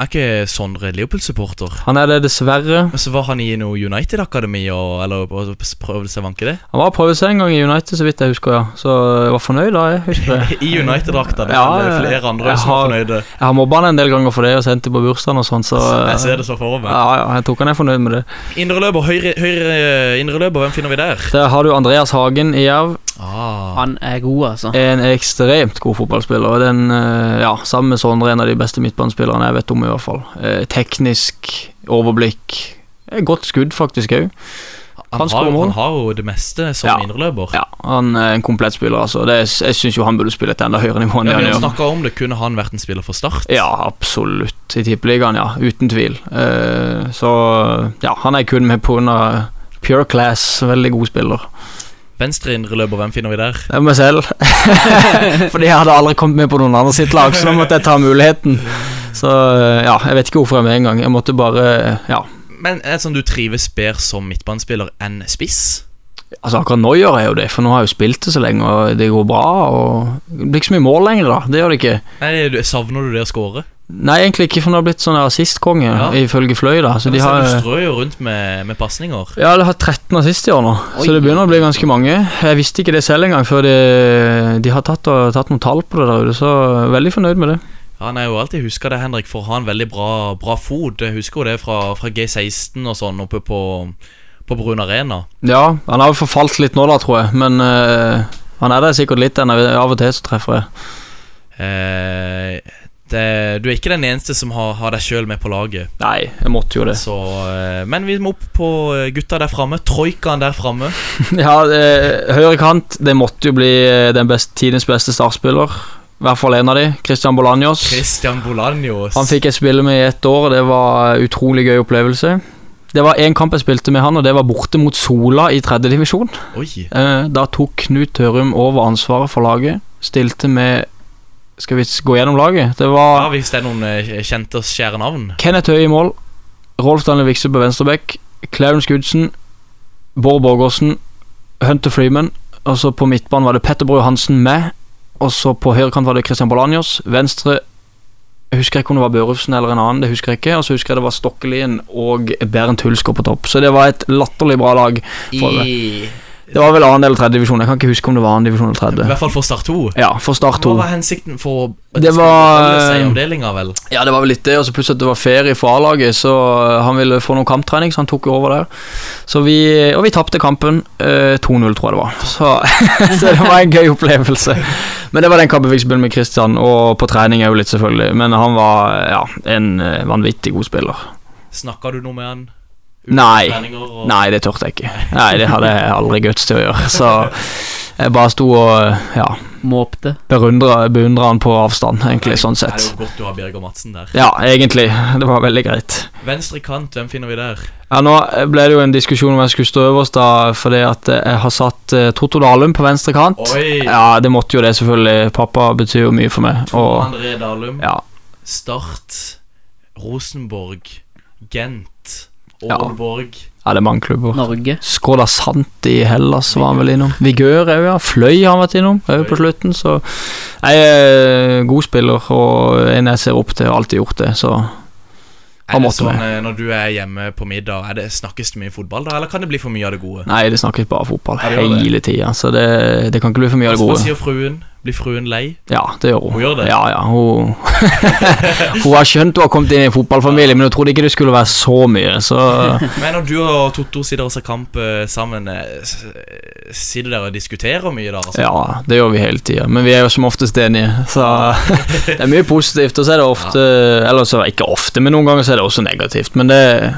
Speaker 3: er ikke Sondre Leopold-supporter?
Speaker 5: han er det dessverre.
Speaker 3: Men så var han i noe United-akademi og eller, og prøvde seg å vanke det?
Speaker 5: Han var prøvd seg en gang i United, så vidt jeg husker, ja. Så jeg var fornøyd da, jeg husker det.
Speaker 3: I United-drakta.
Speaker 5: Eh,
Speaker 3: Det er
Speaker 5: Ja,
Speaker 3: vel flere andre
Speaker 5: jeg
Speaker 3: som var
Speaker 5: har-
Speaker 3: fornøyde.
Speaker 5: Jeg har mobba han en del ganger for det, og sendt det på bursdagen og sånn, så
Speaker 3: Jeg ser det så for meg.
Speaker 5: Ja, ja, jeg tror ikke han er fornøyd med det.
Speaker 3: Indreløper, høyre, høyre indreløper, hvem finner vi der?
Speaker 5: Der har du Andreas Hagen i Jerv.
Speaker 3: Ah,
Speaker 4: Han er god, altså.
Speaker 5: En ekstremt god fotballspiller. og Den, eh, ja, sammen med Sondre, en av de beste midtbanespillerne jeg vet om. i hvert fall Eh, Teknisk overblikk. Eh, Godt skudd, faktisk òg.
Speaker 3: han,
Speaker 5: han
Speaker 3: har,
Speaker 5: skårer
Speaker 3: jo-
Speaker 5: mål.
Speaker 3: han har jo det meste som
Speaker 5: Ja.
Speaker 3: indreløper.
Speaker 5: Ja, han er en komplett spiller, altså. Det, er- jeg syns jo han burde spille et enda høyere nivå enn det
Speaker 3: Ja,
Speaker 5: han
Speaker 3: vi har
Speaker 5: gjør.
Speaker 3: snakket om det, kunne han vært en spiller for Start?
Speaker 5: Ja, absolutt. I Tippeligaen, ja. Uten tvil. Eh, så ja, han er kun med pga. pure class. Veldig god spiller.
Speaker 3: Venstre indreløper, hvem finner vi der?
Speaker 5: Det er meg selv. Fordi jeg hadde aldri kommet med på noen andre sitt lag, så nå måtte jeg ta muligheten. Så eh, ja, jeg vet ikke hvorfor jeg er med engang. Jeg måtte bare eh, Ja.
Speaker 3: Men er det sånn du trives bedre som midtbanespiller enn spiss?
Speaker 5: Altså Akkurat nå gjør jeg jo det, for nå har jeg jo spilt det så lenge, og det går bra. Og Det blir ikke så mye mål lenger, da. Det gjør det ikke.
Speaker 3: Nei, du- Savner du det å skåre?
Speaker 5: Nei, egentlig ikke, for nå har jeg blitt sånn assistkonge,
Speaker 3: Ja.
Speaker 5: ifølge Fløy, da. Så
Speaker 3: Altså, Du
Speaker 5: de har
Speaker 3: strør jo rundt med, med pasninger.
Speaker 5: Jeg har hatt 13 assist i år nå, så det begynner å bli ganske mange. Jeg visste ikke det selv engang, før de, de har tatt, og, tatt noen tall på det der ute, så veldig fornøyd med det.
Speaker 3: Han er jo alltid huska det, Henrik, for å ha en veldig bra, bra fot. Jeg husker jo det fra, fra G16 og sånn oppe på, på Brun Arena.
Speaker 5: Ja, han har jo forfalt litt nå da, tror jeg. Men eh, han er der sikkert litt ennå. Av og til så treffer jeg.
Speaker 3: Eh, det, du er ikke den eneste som har, har deg sjøl med på laget.
Speaker 5: Nei, jeg måtte jo det.
Speaker 3: Så, eh, men vi må opp på eh, gutta der framme. Troikaen der framme.
Speaker 5: ja, eh, høyre kant, det måtte jo bli eh, den best, tidens beste startspiller. I hvert fall en av de. Christian Bolanjos.
Speaker 3: Christian Bolanjos.
Speaker 5: Han fikk jeg spille med i ett år, og det var en utrolig gøy opplevelse. Det var én kamp jeg spilte med han, og det var borte mot Sola i tredjedivisjon.
Speaker 3: Oi.
Speaker 5: Eh, da tok Knut Tørum over ansvaret for laget. Stilte med Skal vi s- gå gjennom laget? Det var
Speaker 3: Ja, hvis det er noen eh, kjente og skjære navn.
Speaker 5: Kenneth Høie i mål. Rolf Daniel Vikse på venstreback. Clarence Goodsen. Bård Borgersen. Hunter Freeman. Og så på midtbanen var det Petter Bru Hansen med. Og så på høyrekant var det Christian Bolanjos. Venstre jeg husker ikke om det var Børufsen eller en annen. det husker jeg ikke, Og så husker jeg det var Stokkelien og Berent Hulsker på topp. Så det var et latterlig bra lag. For det. det var vel annen eller tredje divisjon. Jeg kan ikke huske om det var annen divisjon eller
Speaker 3: I
Speaker 5: tredje.
Speaker 3: hvert fall for Start 2.
Speaker 5: Ja, for Start
Speaker 3: Hva
Speaker 5: 2.
Speaker 3: var hensikten for å
Speaker 5: Det var- eh,
Speaker 3: holde seg i avdelinga, vel?
Speaker 5: Ja, det var vel litt det, og så plutselig at det var ferie for A-laget, så eh, han ville få noe kamptrening, så han tok jo over der. Så vi, og vi tapte kampen. eh, 2-0, tror jeg det var. Så, så det var en gøy opplevelse. Men det var den kampen vi fikk spille med Christian, og på trening òg litt, selvfølgelig. Men han var ja, en eh, vanvittig god spiller.
Speaker 3: Snakka du noe med han?
Speaker 5: Nei.
Speaker 3: Treninger og-
Speaker 5: Nei, det turte jeg ikke. Nei, det hadde jeg aldri guts til å gjøre. Så jeg bare sto og ja,
Speaker 4: Måpte.
Speaker 5: beundra beundra han på avstand, egentlig, sånn
Speaker 3: Det er
Speaker 5: sett.
Speaker 3: jo godt du har Birger Madsen der.
Speaker 5: Ja, egentlig. Det var veldig greit.
Speaker 3: Venstre kant, hvem finner vi der?
Speaker 5: Ja, Nå ble det jo en diskusjon om jeg skulle stå øverst, da, fordi at jeg har satt eh, Totto Dalum på venstre kant.
Speaker 3: Oi!
Speaker 5: Ja, det måtte jo det, selvfølgelig. Pappa betyr jo mye for meg. Og
Speaker 3: André Dalum.
Speaker 5: ja,
Speaker 3: Start, Rosenborg, Gent,
Speaker 5: Ja.
Speaker 3: Aalborg
Speaker 5: ja det er mange klubber.
Speaker 4: Norge.
Speaker 5: Skåda Santi i Hellas var han vel innom. Vigør òg, ja. Fløy har han vært innom òg på slutten, så Jeg er god spiller og en jeg ser opp til, og har alltid gjort det, så
Speaker 3: Er
Speaker 5: Han
Speaker 3: det
Speaker 5: måtte
Speaker 3: sånn
Speaker 5: med.
Speaker 3: eh, når du er hjemme på middag, er det snakkes det mye fotball da, eller kan det bli for mye av det gode?
Speaker 5: Nei, det snakkes bare fotball
Speaker 3: Ja, det gjør det.
Speaker 5: hele tida, så det, det kan ikke bli for mye av det
Speaker 3: Hva
Speaker 5: gode.
Speaker 3: sier fruen? Blir fruen lei?
Speaker 5: Ja, det gjør hun.
Speaker 3: Hun gjør det?
Speaker 5: Ja, ja, hun, hun har skjønt du har kommet inn i en fotballfamilie, men hun trodde ikke det skulle være så mye. Så
Speaker 3: Men når du og Totto sitter og ser kamp eh, sammen, eh, s- eh, sitter dere og diskuterer mye da? Altså?
Speaker 5: ja, det gjør vi hele tida. Men vi er jo som oftest enige, så det er mye positivt. Og så er det ofte Eller så ikke ofte, men noen ganger så er det også negativt. Men det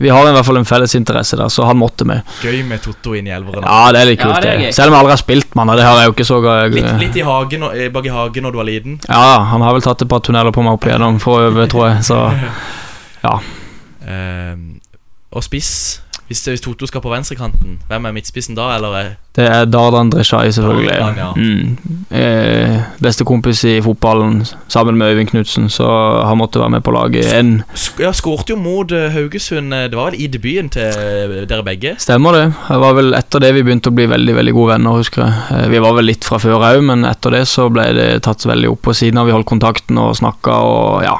Speaker 5: Vi har i hvert fall en felles interesse der, så han måtte med.
Speaker 3: Gøy med Totto inn i elveren.
Speaker 5: Ja, det er litt
Speaker 4: Ja,
Speaker 5: kult,
Speaker 4: det er
Speaker 5: det.
Speaker 4: gøy.
Speaker 5: Selv om jeg aldri har spilt med han, og det har jeg jo ikke så
Speaker 3: Litt,
Speaker 5: gøy.
Speaker 3: litt i hagen, og- eh, bak i hagen når du var liten.
Speaker 5: Ja, han har vel tatt et par tunneler på meg opp igjennom for å øve, tror jeg, så
Speaker 3: Ehm, og spiss. Hvis, hvis Totto skal på venstrekanten, hvem er midtspissen da? Eller eh? er
Speaker 5: det er Dardan Dreshai, selvfølgelig.
Speaker 3: Dardan, ja.
Speaker 5: mm. eh, beste kompis i fotballen, sammen med Øyvind Knutsen, så han måtte være med på laget. En
Speaker 3: Sk ja, Skårte jo mot eh, Haugesund, eh, det var vel i debuten til eh, dere begge?
Speaker 5: Stemmer det. Det var vel etter det vi begynte å bli veldig veldig gode venner, husker jeg. Eh, Vi var vel litt fra før òg, men etter det så ble det tatt veldig opp. Og siden har vi holdt kontakten og snakka og ja,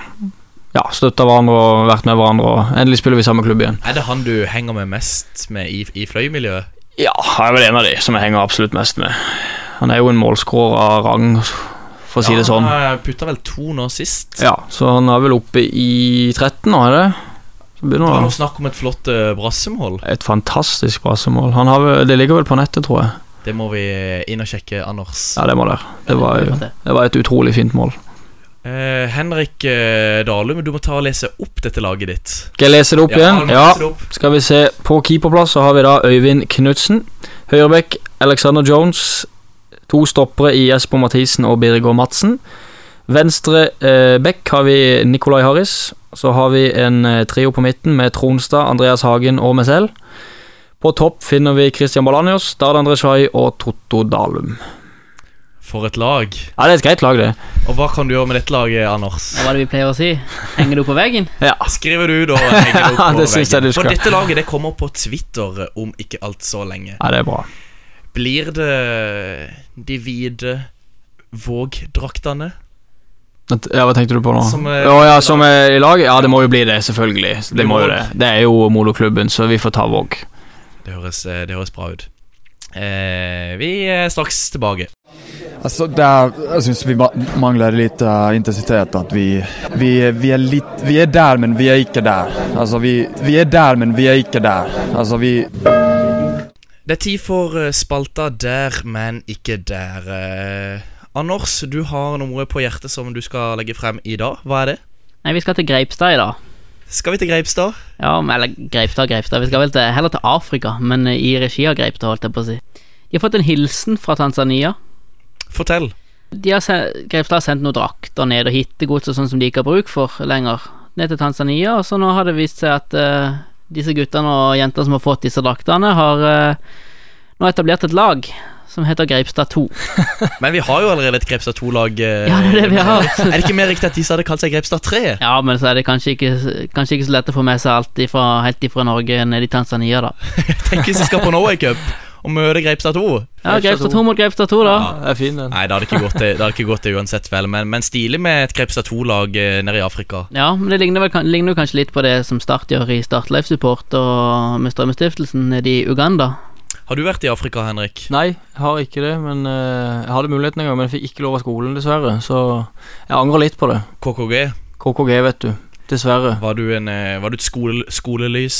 Speaker 5: ja støtta hverandre og vært med hverandre. Og endelig spiller vi samme klubb igjen.
Speaker 3: Er det han du henger med mest med i, i fløymiljøet?
Speaker 5: Ja, jeg er vel en av de som jeg henger absolutt mest med. Han er jo en målskårer av rang, for å si det sånn.
Speaker 3: Han eh, putta vel to nå sist.
Speaker 5: Ja, Så han er vel oppe i 13 nå, er det? Så
Speaker 3: Det
Speaker 5: begynner
Speaker 3: var
Speaker 5: han
Speaker 3: noe snakk om et flott eh, brassemål.
Speaker 5: Et fantastisk brassemål. Han har vel, det ligger vel på nettet, tror jeg.
Speaker 3: Det må vi eh, inn og sjekke, Anders.
Speaker 5: Ja, det må der. Det var, jo- det var et utrolig fint mål.
Speaker 3: Eh, Henrik eh, Dalum, du må ta og lese opp dette laget ditt.
Speaker 5: Skal jeg lese det opp igjen?
Speaker 3: Dalum,
Speaker 5: Ja.
Speaker 3: lese det opp.
Speaker 5: Skal vi se, På keeperplass så har vi da Øyvind Knutsen. Høyrebekk Alexander Jones. To stoppere i Jesper Mathisen og Birger Madsen. Venstre eh, bekk har vi Nicolai Harris. Så har vi en eh, trio på midten med Tronstad, Andreas Hagen og meg selv. På topp finner vi Christian Balanios, Dardan Reshai og Totto Dalum.
Speaker 3: For et lag.
Speaker 5: Ja, det er et greit lag, det.
Speaker 3: Og hva kan du gjøre med dette laget, Anders?
Speaker 4: Hva er det vi pleier å si? Henger du på veggen?
Speaker 5: Ja,
Speaker 3: Skriver du da henger opp
Speaker 5: Ja,
Speaker 3: på
Speaker 5: det synes jeg
Speaker 3: veggen.
Speaker 5: du skal.
Speaker 3: For dette laget det kommer på Twitter eh, om ikke alt så lenge.
Speaker 5: ja det er bra.
Speaker 3: Blir det eh, de hvite Våg-draktene?
Speaker 5: Vent, Ja, Hva tenkte du på nå?
Speaker 3: Som, eh,
Speaker 5: Å, ja, som eh, i lag? Ja, det må jo bli det, selvfølgelig. Det må jo det. Det er jo moderklubben, så vi får ta Våg.
Speaker 3: Det høres, eh, det høres bra ut. Eh, vi er straks tilbake.
Speaker 8: Altså, det er, jeg syns vi ma- mangler litt eh, intensitet. At vi, vi, vi er litt Vi er der, men vi er ikke der. Altså, vi, vi er der, men vi er ikke der. Altså, vi
Speaker 3: Det er tid for eh, spalta Der, men ikke der. Eh, Anders, du har noe på hjertet som du skal legge frem i dag. Hva er det?
Speaker 4: Nei, vi skal til Greipstad i dag.
Speaker 3: Skal vi til Greipstad?
Speaker 4: Ja, men- eller Greipstad, Greipstad. Vi skal vel til, heller til Afrika, men eh, i regi av Greipstad, holdt jeg på å si. De har fått en hilsen fra Tanzania.
Speaker 3: Fortell.
Speaker 4: De har se- Greipstad har sendt noen drakter ned og hittegods og sånn som de ikke har bruk for lenger, ned til Tanzania, og så nå har det vist seg at eh, disse guttene og jentene som har fått disse draktene, har eh, nå etablert et lag som heter Greipstad 2.
Speaker 3: Men vi har jo allerede et Grepstad 2-lag. eh,
Speaker 4: Ja, det er det vi har.
Speaker 3: Er det ikke mer riktig at de som hadde kalt seg Grepstad 3?
Speaker 4: Ja, men så er det kanskje ikke, kanskje ikke så lett å få med seg alt ifra, helt ifra Norge ned i Tanzania, da.
Speaker 3: Tenk hvis de skal på Norway Cup og møte Grepstad 2.
Speaker 4: Ja, Greipstad 2 mot Greipstad 2, da.
Speaker 5: Det er fin, den.
Speaker 3: Nei, det hadde ikke gått det, det, hadde ikke gått det uansett, vel. Men, men stilig med et Grepstad 2-lag eh, nede i Afrika.
Speaker 4: Ja, men det ligner, vel, kan- ligner jo kanskje litt på det som Start gjør i Start Life Support og med Strømmestiftelsen nede i Uganda.
Speaker 3: Har du vært i Afrika, Henrik?
Speaker 5: Nei, jeg har ikke det. Men eh, Jeg hadde muligheten en gang, men jeg fikk ikke lov av skolen, dessverre. Så jeg angrer litt på det.
Speaker 3: KKG?
Speaker 5: KKG, vet du. Dessverre.
Speaker 3: Var du, en, eh, var du et skole, skolelys?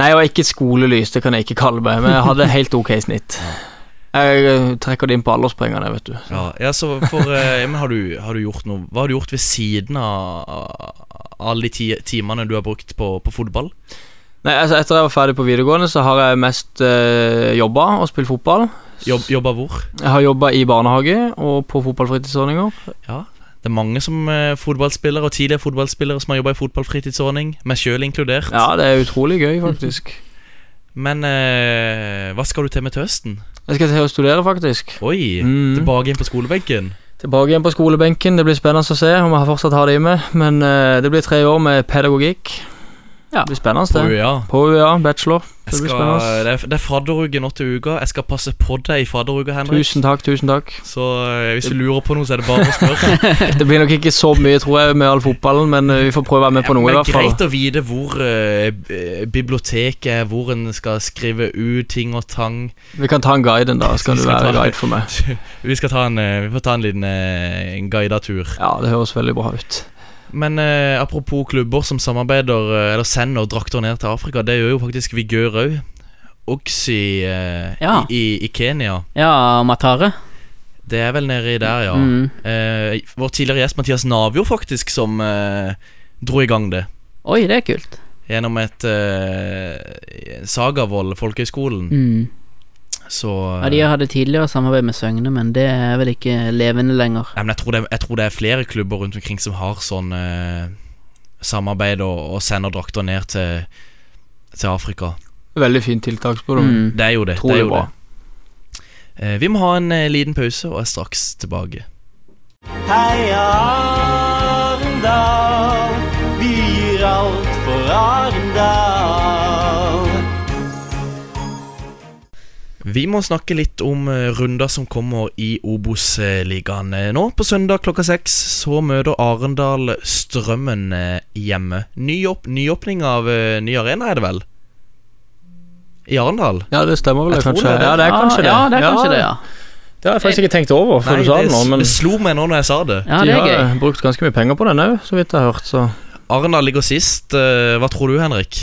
Speaker 5: Nei, jeg var ikke et skolelys, det kan jeg ikke kalle meg, men jeg hadde helt ok snitt. Jeg eh, trekker det inn på alderspengene, vet du.
Speaker 3: Ja, ja så for eh, Men har du, har du gjort noe Hva har du gjort ved siden av av alle de ti, timene du har brukt på, på fotball?
Speaker 5: Nei, altså Etter jeg var ferdig på videregående, så har jeg mest uh, jobba og spilt fotball.
Speaker 3: Jobb, jobba hvor?
Speaker 5: Jeg har jobba i barnehage og på fotballfritidsordninger.
Speaker 3: Det er mange som eh, fotballspillere og tidligere fotballspillere som har jobba i fotballfritidsordning, meg sjøl inkludert.
Speaker 5: Ja, det er utrolig gøy, faktisk.
Speaker 3: Men eh, hva skal du til med til høsten?
Speaker 5: Jeg skal til å studere, faktisk.
Speaker 3: Oi,
Speaker 5: Mm.
Speaker 3: tilbake inn på skolebenken.
Speaker 5: Tilbake igjen på skolebenken. Det blir spennende å se om jeg fortsatt har det i meg. Men eh, det blir tre år med pedagogikk.
Speaker 4: Ja.
Speaker 5: Det blir spennende,
Speaker 3: På
Speaker 5: det.
Speaker 3: UiA.
Speaker 5: På UiA, bachelor.
Speaker 3: Jeg
Speaker 5: Det blir
Speaker 3: skal,
Speaker 5: spennende.
Speaker 3: det, er, det er fadderuke nå til uka. Jeg skal passe på deg i fadderuka, Henrik.
Speaker 5: Tusen takk, tusen takk.
Speaker 3: Så eh, hvis du lurer på noe, så er det bare å spørre.
Speaker 5: Det blir nok ikke så mye, tror jeg, med all fotballen, men eh, vi får prøve å være med på noe, i
Speaker 3: Men
Speaker 5: hvert fall.
Speaker 3: greit å vite hvor eh, b- biblioteket er, hvor en skal skrive ut ting og tang.
Speaker 5: Vi kan ta en guide en dag. Skal
Speaker 3: Vi
Speaker 5: du
Speaker 3: skal ta
Speaker 5: være
Speaker 3: det.
Speaker 5: guide for meg?
Speaker 3: Vi skal ta en, eh, vi får ta en liten eh, en guidet tur.
Speaker 5: Ja, det høres veldig bra ut.
Speaker 3: Men eh, apropos klubber som samarbeider eh, eller sender drakter ned til Afrika, det gjør jo faktisk Vigør òg. Oxy eh,
Speaker 4: Ja.
Speaker 3: i, i, i Kenya.
Speaker 4: Ja, Matare.
Speaker 3: Det er vel nedi der, ja.
Speaker 4: Mm.
Speaker 3: Eh, vår tidligere gjest Mathias Navio, faktisk, som eh, dro i gang det.
Speaker 4: Oi, det er kult.
Speaker 3: gjennom et eh, Sagavoll folkehøgskolen,
Speaker 4: Mm.
Speaker 3: så eh,
Speaker 4: Ja, de hadde tidligere samarbeid med Søgne, men det er vel ikke levende lenger.
Speaker 3: Nei, men jeg tror, det, jeg tror det er flere klubber rundt omkring som har sånn eh, samarbeid og, og sender drakter ned til, til Afrika.
Speaker 5: Veldig fint tiltak, spør du. meg.
Speaker 4: Mm.
Speaker 3: Det er jo det.
Speaker 5: Tror
Speaker 3: det,
Speaker 5: det
Speaker 3: er jo
Speaker 5: bra.
Speaker 3: det. Eh, vi må ha en eh, liten pause og er straks tilbake.
Speaker 6: Heia Arendal, vi gir alt for Arendal.
Speaker 3: Vi må snakke litt om eh, runder som kommer i Obos-ligaen eh, nå. På søndag klokka seks så møter Arendal Strømmen eh, hjemme. Ny opp, nyåpning av eh, ny arena, er det vel? I Arendal?
Speaker 5: Ja, det stemmer vel
Speaker 3: Jeg
Speaker 5: det,
Speaker 3: tror
Speaker 5: kanskje.
Speaker 3: det.
Speaker 5: Ja, det er kanskje det.
Speaker 4: Ja, det er kanskje det, ja.
Speaker 5: Det har jeg faktisk ikke tenkt over før du sa
Speaker 3: det,
Speaker 5: det nå,
Speaker 3: s-
Speaker 5: men
Speaker 3: det slo meg nå når jeg sa det.
Speaker 4: Ja, det er
Speaker 5: de
Speaker 4: gøy.
Speaker 5: har eh, brukt ganske mye penger på den òg, så vidt jeg har hørt, så
Speaker 3: Arendal ligger sist. eh, Hva tror du, Henrik?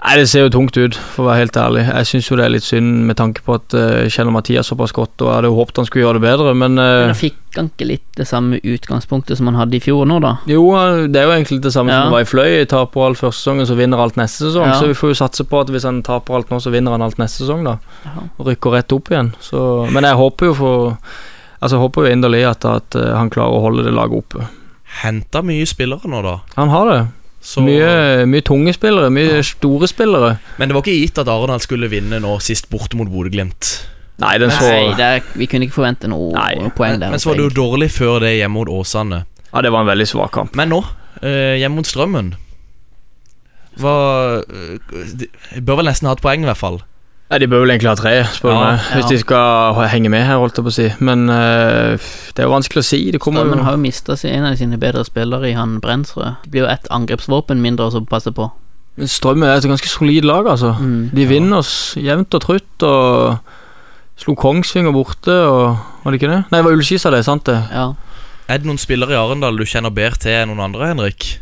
Speaker 5: Nei, det ser jo tungt ut, for å være helt ærlig. Jeg syns jo det er litt synd med tanke på at eh, jeg kjenner Mathias såpass godt, og jeg hadde jo håpet han skulle gjøre det bedre, men eh,
Speaker 4: Men da fikk han ikke litt det samme utgangspunktet som han hadde i fjor nå, da.
Speaker 5: Jo, det er jo egentlig det samme
Speaker 4: Ja.
Speaker 5: som det var i Fløy. Taper alt første sesongen, så vinner alt neste sesong.
Speaker 4: Ja.
Speaker 5: Så vi får jo satse på at hvis han taper alt nå, så vinner han alt neste sesong, da.
Speaker 4: Ja.
Speaker 5: Og rykker rett opp igjen. Så, men jeg håper jo for Altså, jeg håper jo inderlig at, at eh, han klarer å holde det laget oppe.
Speaker 3: Henta mye spillere nå, da.
Speaker 5: Han har det.
Speaker 3: Så,
Speaker 5: Mye, mye tunge spillere, mye store spillere.
Speaker 3: Men det var ikke gitt at Arendal skulle vinne nå sist borte mot Bodø-Glimt.
Speaker 5: Nei, den så
Speaker 4: Nei, det er, vi kunne ikke forvente noe
Speaker 5: Nei,
Speaker 4: poeng
Speaker 3: Men,
Speaker 4: der.
Speaker 3: men så var det jo dårlig før det hjemme mot Åsane.
Speaker 5: Ja, det var en veldig svak kamp.
Speaker 3: Men nå, eh, hjemme mot Strømmen Hva eh, de- Bør vel nesten ha et poeng, i hvert fall.
Speaker 5: Nei, De bør vel egentlig ha tre, spør du
Speaker 3: Ja.
Speaker 5: meg. Hvis
Speaker 4: Ja.
Speaker 5: de skal h- henge med her, holdt jeg på å si. Men eh, det er jo vanskelig å si. Det kommer
Speaker 4: Strømmen
Speaker 5: jo
Speaker 4: har jo mista en av sine bedre spillere i han Brensrød. Det blir jo ett angrepsvåpen mindre å passe på.
Speaker 5: Strømmen er et ganske solid lag, altså.
Speaker 4: Mm.
Speaker 5: De vinner oss jevnt og trutt og slo Kongsvinger borte og Var det ikke det? Nei, det var Ullskisa, det. Sant det.
Speaker 4: Ja.
Speaker 3: Er det noen spillere i Arendal du kjenner bedre til enn noen andre, Henrik?